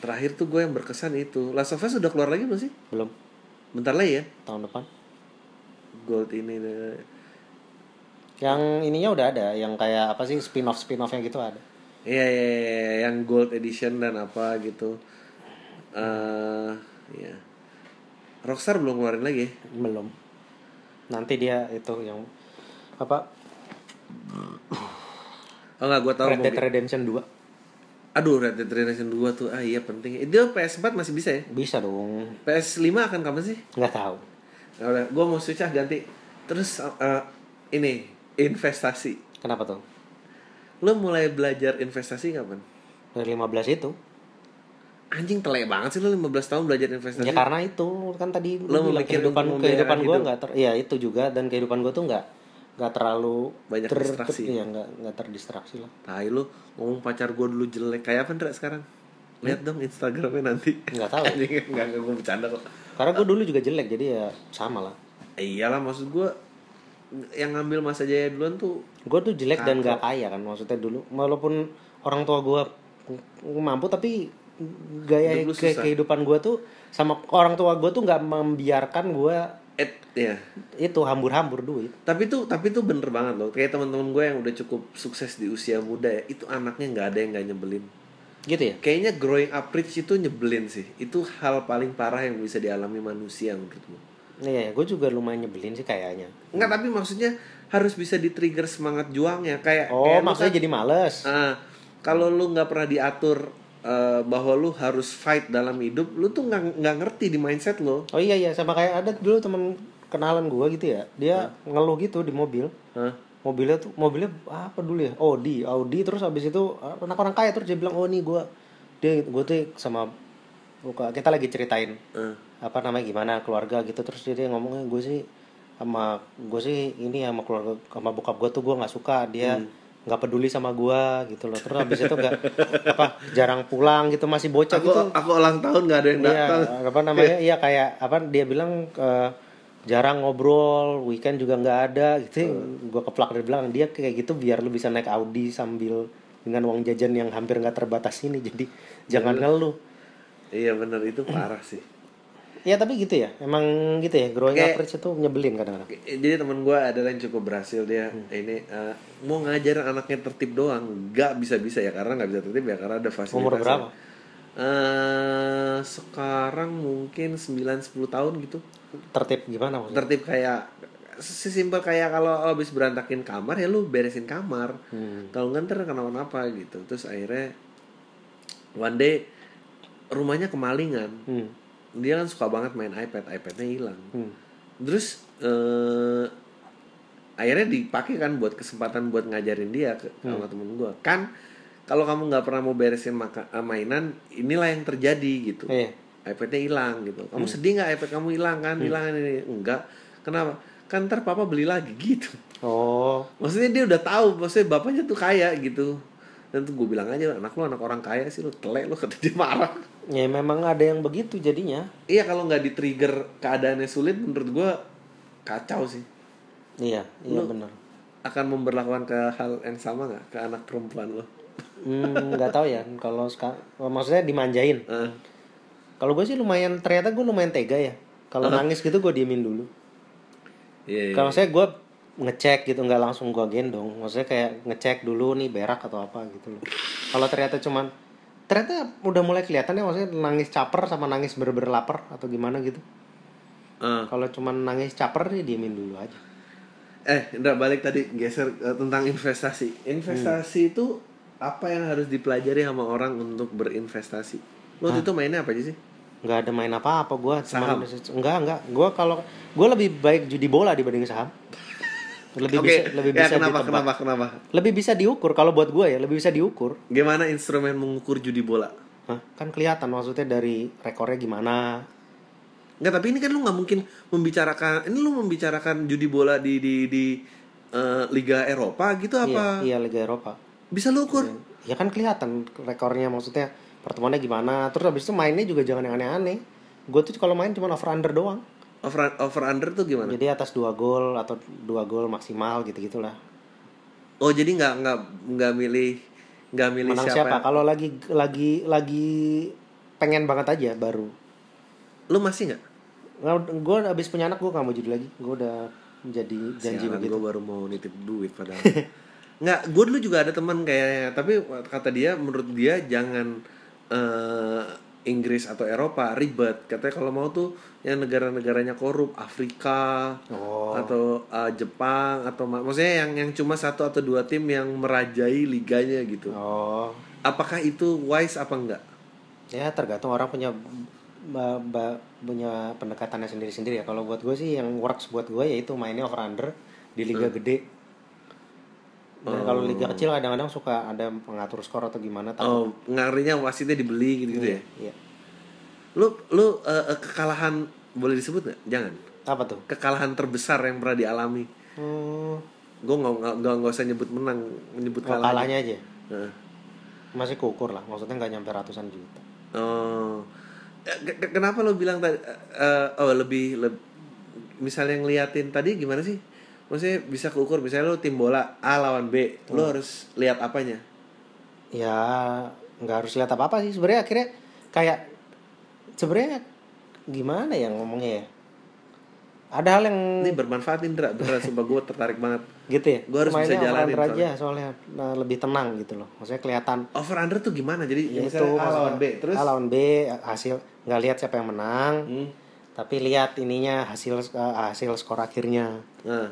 A: Terakhir tuh gue yang berkesan itu Last of Us udah keluar lagi belum sih?
B: belum
A: Bentar lagi ya
B: tahun depan
A: Gold ini eh,
B: yang ininya udah ada yang kayak apa sih spin off spin offnya gitu ada
A: Iya iya iya, iya, yang Gold Edition dan apa gitu eh Iya Rockstar belum keluarin lagi ya?
B: belum nanti dia itu yang apa
A: Oh enggak gue tau
B: Red
A: mau
B: Dead Redemption 2
A: Aduh Red Dead Redemption 2 tuh Ah iya penting Itu PS4 masih bisa ya?
B: bisa dong
A: PS5 akan kapan sih?
B: nggak tahu
A: Nah, udah gue mau switch ah ganti Terus eh, ini Investasi
B: kenapa tuh
A: Lo mulai belajar investasi kapan?
B: dari 15 itu
A: Anjing telek banget sih lo 15 tahun belajar investasi.
B: ya karena itu kan tadi
A: Lo
B: lu bilang
A: memikir
B: kehidupan
A: untuk gitu?
B: kehidupan
A: memelihara
B: gue
A: hidup.
B: nggak ter ya itu juga dan kehidupan gue tuh nggak nggak terlalu
A: Banyak distraksi.
B: ya nggak nggak terdistraksi lah
A: Tai lo ngomong pacar gue dulu jelek kayak apa Ndra sekarang? Lihat dong Instagramnya nanti.
B: Nggak tahu.
A: Anjing enggak gue bercanda kok.
B: karena gue dulu juga jelek jadi ya sama lah
A: Eh, iyalah maksud gue yang ngambil Mas Jaya duluan tuh
B: gue tuh jelek dan gak kaya kan maksudnya dulu walaupun orang tua gue mampu tapi gaya
A: Hidup lu
B: ke-
A: susah.
B: kehidupan gue tuh sama orang tua gue tuh nggak membiarkan gue
A: et ya.
B: itu hambur-hambur duit
A: Tapi tuh tapi tuh bener banget loh. Kayak teman-teman gue yang udah cukup sukses di usia muda ya, itu anaknya nggak ada yang nggak nyebelin.
B: gitu ya
A: Kayaknya growing up rich itu nyebelin sih. Itu hal paling parah yang bisa dialami manusia menurut gue.
B: Iya, gue juga lumayan nyebelin sih kayaknya.
A: Enggak, tapi maksudnya harus bisa di-trigger semangat juangnya kayak
B: Oh,
A: kayak lu
B: maksudnya
A: kan-
B: jadi males.
A: Ah, kalau lu nggak pernah diatur eh, bahwa lu harus fight dalam hidup, lu tuh nggak nggak ngerti di mindset lo.
B: Oh iya iya, sama kayak ada dulu temen kenalan gue gitu ya. Dia ngeluh gitu di mobil.
A: Hah?
B: Mobilnya tuh mobilnya apa dulu ya? Audi, Audi terus habis itu ah, anak orang kaya terus dia bilang, "Oh, nih gue dia gue tuh sama kita lagi ceritain
A: Eh,
B: apa namanya gimana keluarga gitu terus dia, dia ngomongnya gue sih sama gue sih ini sama keluarga sama bokap gue tuh gue nggak suka dia nggak peduli sama gue gitu loh terus habis itu nggak apa jarang pulang gitu masih bocah
A: Aku
B: gitu
A: aku ulang tahun nggak ada yang datang.
B: Iya, apa namanya? Iya kayak apa dia bilang eh, jarang ngobrol, weekend juga nggak ada gitu. Gua keplak dari belakang dia kayak gitu biar lu bisa naik Audi sambil dengan uang jajan yang hampir nggak terbatas ini. Jadi jangan ngeluh.
A: Iya bener itu parah sih.
B: Ya tapi gitu ya. Emang gitu ya. Growing
A: Kayak-
B: up rich itu nyebelin kadang-kadang.
A: Jadi teman gue ada yang cukup berhasil dia ini eh, mau ngajarin anaknya tertib doang, nggak bisa bisa ya karena nggak bisa tertib ya karena ada fasilitas.
B: Umur berapa?
A: Eh, sekarang mungkin 9-10 tahun gitu.
B: Tertib gimana maksudnya?
A: tertib kayak sesimpel kayak kalau lo habis berantakin kamar ya lu beresin kamar
B: Hmm.
A: kalau nggak ntar kenapa-napa gitu terus akhirnya one day rumahnya kemalingan
B: Hmm.
A: dia kan suka banget main iPad iPadnya hilang
B: Hmm.
A: terus eh, akhirnya dipakai kan buat kesempatan buat ngajarin dia ke sama
B: Hmm.
A: temen gue kan kalau kamu nggak pernah mau beresin maka- eh, mainan inilah yang terjadi gitu
B: Iya.
A: iPadnya hilang gitu. Kamu sedih nggak iPad kamu hilang kan? Hilang kan ini enggak. Kenapa? Kan ntar papa beli lagi gitu.
B: Oh,
A: Maksudnya dia udah tahu, maksudnya bapaknya tuh kaya gitu. Dan tuh gue bilang aja anak lu anak orang kaya sih lu telek lu kata dia marah.
B: ya memang ada yang begitu jadinya.
A: Iya kalau nggak di trigger keadaannya sulit menurut gue kacau sih.
B: Iya, iya benar.
A: Akan memperlakukan ke hal yang sama nggak ke anak perempuan lo?
B: Hmm, nggak tahu ya kalau sekarang maksudnya dimanjain.
A: Eh,
B: Kalau gue sih lumayan ternyata gue lumayan tega ya. Kalau nangis gitu gue diemin dulu.
A: Iya.
B: Kalau saya gue ngecek gitu nggak langsung gue gendong. Maksudnya kayak ngecek dulu nih berak atau apa gitu loh. Kalau ternyata cuman ternyata udah mulai kelihatan ya maksudnya nangis caper sama nangis berber lapar atau gimana gitu.
A: Eh.
B: Kalau cuman nangis caper nih diemin dulu aja.
A: Eh, Indra balik tadi geser eh, tentang investasi. Investasi
B: Hmm.
A: itu apa yang harus dipelajari sama orang untuk berinvestasi? Lo waktu itu mainnya apa aja sih?
B: Nggak ada main apa-apa gue cuman enggak enggak. Gue kalau gue lebih baik judi bola dibanding saham. Lebih
A: Oke,
B: bisa lebih
A: ya,
B: bisa
A: kenapa,
B: ditebak.
A: kenapa, kenapa?
B: Lebih bisa diukur kalau buat gue ya, lebih bisa diukur.
A: Gimana instrumen mengukur judi bola?
B: Hah? Kan kelihatan maksudnya dari rekornya gimana.
A: Enggak, tapi ini kan lu nggak mungkin membicarakan ini lu membicarakan judi bola di di di eh, liga Eropa gitu apa?
B: Iya, iya Liga Eropa.
A: Bisa lu ukur.
B: Ya kan kelihatan rekornya maksudnya pertemuannya gimana. Terus habis itu mainnya juga jangan yang aneh-aneh. Gue tuh kalau main cuma over under doang.
A: Over over under tuh gimana?
B: Jadi atas dua gol atau dua gol maksimal gitu-gitulah.
A: Oh, jadi nggak nggak nggak milih nggak milih
B: Menang
A: siapa?
B: siapa? Kalau lagi lagi lagi pengen banget aja baru.
A: Lu masih nggak?
B: Gue habis punya anak gue gak mau jadi lagi. Gue udah menjadi janji
A: Sialan,
B: begitu.
A: Gue baru mau nitip duit padahal. Nggak, gue dulu juga ada teman kayaknya, tapi kata dia menurut dia jangan eh, Inggris atau Eropa ribet. Katanya kalau mau tuh yang negara-negaranya korup, Afrika
B: Oh.
A: atau eh, Jepang atau ma- maksudnya yang yang cuma satu atau dua tim yang merajai liganya gitu.
B: Oh.
A: Apakah itu wise apa enggak?
B: ya tergantung orang punya ba- ba- punya pendekatannya sendiri-sendiri ya kalau buat gue sih yang works buat gue yaitu mainnya over under di
A: Hmm.
B: liga gede
A: Oh.
B: dan kalau liga kecil kadang-kadang suka ada pengatur skor atat gimana
A: Oh,
B: takut
A: ngarinya wasitnya dibeli gitu, ya.
B: Iya.
A: Lu lu eh, eh, kekalahan boleh disebut nggak? Jangan.
B: apa tuh
A: Kekalahan terbesar yang pernah dialami.
B: hmm,
A: Oh, gue nggak nggak nggak nggak usah nyebut menang menyebut
B: kalau
A: kalah Nah.
B: kalahnya aja
A: Heeh.
B: masih kukur lah maksudnya nggak nyampe ratusan juta
A: oh Eh, ke- ke- kenapa lo bilang tadi eh, eh, oh lebih, leb- misalnya ngeliatin tadi gimana sih maksudnya bisa keukur misalnya lu tim bola A lawan B lu harus lihat apanya
B: ya nggak harus lihat apa apa sih sebenarnya akhirnya kayak sebenarnya gimana ya ngomongnya ya ada hal yang
A: ini bermanfaat Indra beneran sumpah gue tertarik banget
B: gitu ya
A: gua harus
B: Mainnya
A: bisa jalanin
B: over-under aja soalnya nah, lebih tenang gitu loh maksudnya kelihatan
A: over under tuh gimana jadi
B: ya
A: Iya, misalnya A lawan B terus Hmm.
B: A lawan B hasil nggak lihat siapa yang menang tapi lihat ininya hasil eh, hasil skor akhirnya
A: nah,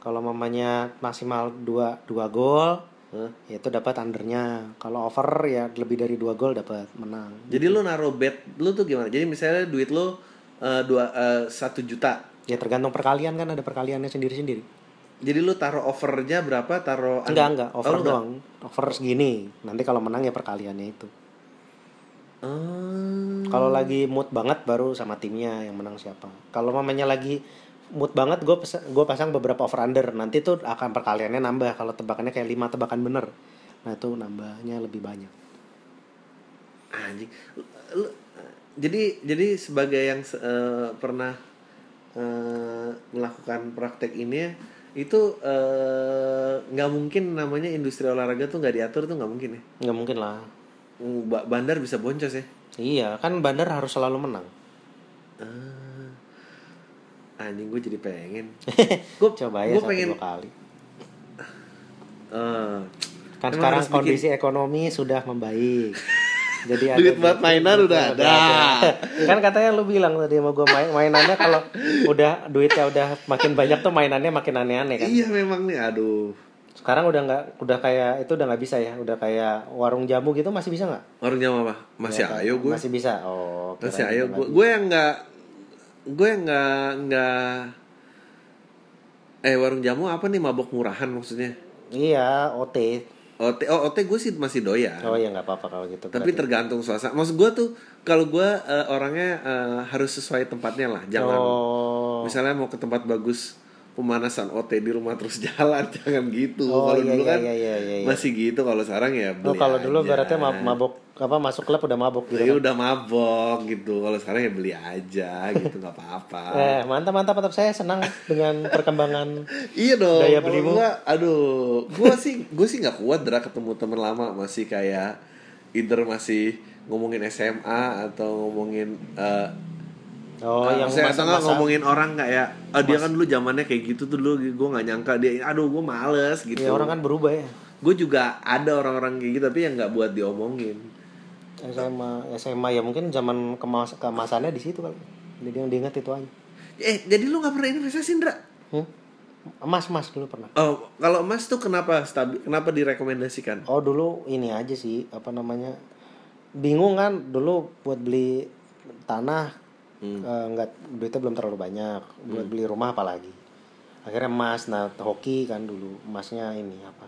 B: kalau mamanya maksimal dua dua gol
A: Hah?
B: ya itu dapat undernya kalau over ya lebih dari dua gol dapat menang
A: jadi lu naruh bet lu tuh gimana jadi misalnya duit lu eh, dua eh, satu juta
B: ya tergantung perkalian kan ada perkaliannya sendiri sendiri
A: jadi lu taruh overnya berapa taruh under-
B: enggak enggak
A: Oh,
B: over
A: lu enggak?
B: doang over segini nanti kalau menang ya perkaliannya itu
A: Ah.
B: Kalau lagi mood banget baru sama timnya yang menang siapa. Kalau mamanya lagi mood banget gue gue pasang beberapa over under nanti tuh akan perkaliannya nambah kalau tebakannya kayak lima tebakan bener nah itu nambahnya lebih banyak
A: anjing Lu- lu- jadi jadi sebagai yang se- eh, pernah eh, melakukan praktek ini itu eh, nggak mungkin namanya industri olahraga tuh nggak diatur tuh nggak mungkin ya
B: nggak mungkin lah
A: Mm, ba- bandar bisa boncos ya
B: iya kan bandar harus selalu menang
A: Ah. anjing gue jadi pengen Eh.
B: gue coba ya
A: gua
B: satu
A: pengen-
B: dua kali
A: Eh,
B: kan
A: Emang
B: sekarang
A: harus bikin-
B: kondisi ekonomi sudah membaik jadi ada gitu,
A: Duit buat mainan udah ada.
B: kan katanya lu bilang tadi sama gue main mainannya kalau udah duitnya udah makin banyak tuh mainannya makin aneh-aneh kan
A: iya memang nih aduh
B: sekarang udah nggak udah kayak itu udah nggak bisa ya udah kayak warung jamu gitu masih bisa nggak
A: warungnya apa masih
B: Nggak,
A: Ya, ayo gue
B: masih bisa oh
A: Terus ya
B: kirain
A: ayo
B: udah
A: gue gue
B: nggak
A: yang nggak gue yang nggak nggak eh warung jamu apa nih mabok murahan maksudnya
B: bisa. iya ot
A: ot oh ot gue sih masih doyan
B: oh ya nggak apa-apa kalau gitu
A: tapi
B: berarti.
A: tergantung suasana maksud gue tuh kalau gue eh, orangnya eh, harus sesuai tempatnya lah jangan
B: oh
A: misalnya mau ke tempat bagus pemanasan ot di rumah terus jalan jangan gitu
B: Oh,
A: kalau
B: iya,
A: dulu
B: iya,
A: kan
B: iya, iya, iya, iya.
A: masih gitu kalau sekarang ya
B: Oh,
A: beli
B: kalau dulu
A: aja.
B: berarti mab- mabok apa masuk klub udah mabok gitu
A: Ya udah mabok gitu kalau sekarang ya beli aja gitu nggak apa-apa
B: Eh, mantap mantap mantap saya senang dengan perkembangan.
A: Iya dong.
B: Daya
A: kalau
B: belimu.
A: gua, aduh, gua sih gua sih nggak kuat dra ketemu temen lama masih kayak either masih ngomongin SMA atau ngomongin eh
B: Oh,
A: eh,
B: yang
A: saya
B: masa-
A: atau nggak
B: masa-
A: ngomongin orang kayak ah, dia kan dulu zamannya kayak gitu tuh dulu gua nggak nyangka dia aduh gua males gitu.
B: ya orang kan berubah ya.
A: Gua juga ada orang-orang kayak gitu tapi yang nggak buat diomongin.
B: SMA SMA ya mungkin zaman kemas kemasannya di situ kali. Jadi yang diingat itu aja.
A: Eh, jadi lu nggak pernah investasi, Indra?
B: Hmm? Emas emas dulu pernah.
A: Oh, kalau Mas tuh kenapa stabil, kenapa direkomendasikan?
B: Oh dulu ini aja sih apa namanya bingung kan dulu buat beli tanah eh, nggak duitnya belum terlalu banyak buat beli rumah apalagi akhirnya emas nah hoki kan dulu emasnya ini apa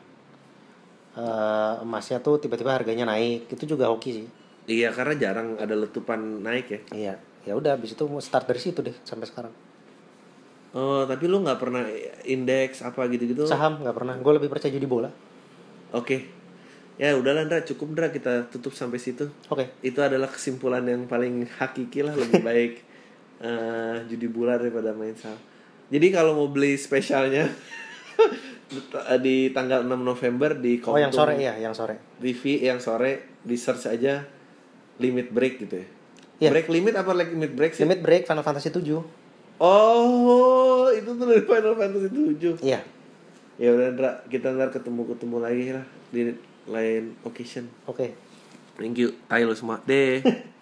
B: Eh, emasnya tuh tiba-tiba harganya naik itu juga hoki sih
A: Iya, karena jarang ada letupan naik ya.
B: iya ya udah habis itu start dari situ deh sampai sekarang
A: Oh, tapi lu nggak pernah indeks apa gitu-gitu? Oke.
B: saham nggak pernah gue lebih percaya judi bola
A: Ya udahlah Ndra, cukup Ndra kita tutup sampai situ.
B: oke
A: Itu adalah kesimpulan yang paling hakiki lah lebih baik eh, judi bola daripada main saham. Jadi kalau mau beli spesialnya di tanggal 6 November di
B: oh yang
A: Komtung
B: sore iya yang sore
A: TV yang sore di search aja limit break gitu ya.
B: Iya.
A: Break limit apa limit break sih?
B: limit break Final Fantasy 7
A: Oh, itu tuh dari Final Fantasy 7.
B: iya
A: Ya udah Ndra, kita ntar ketemu-ketemu lagi lah di lain occasion.
B: oke
A: Thank you. Tayo lu semua. Deh.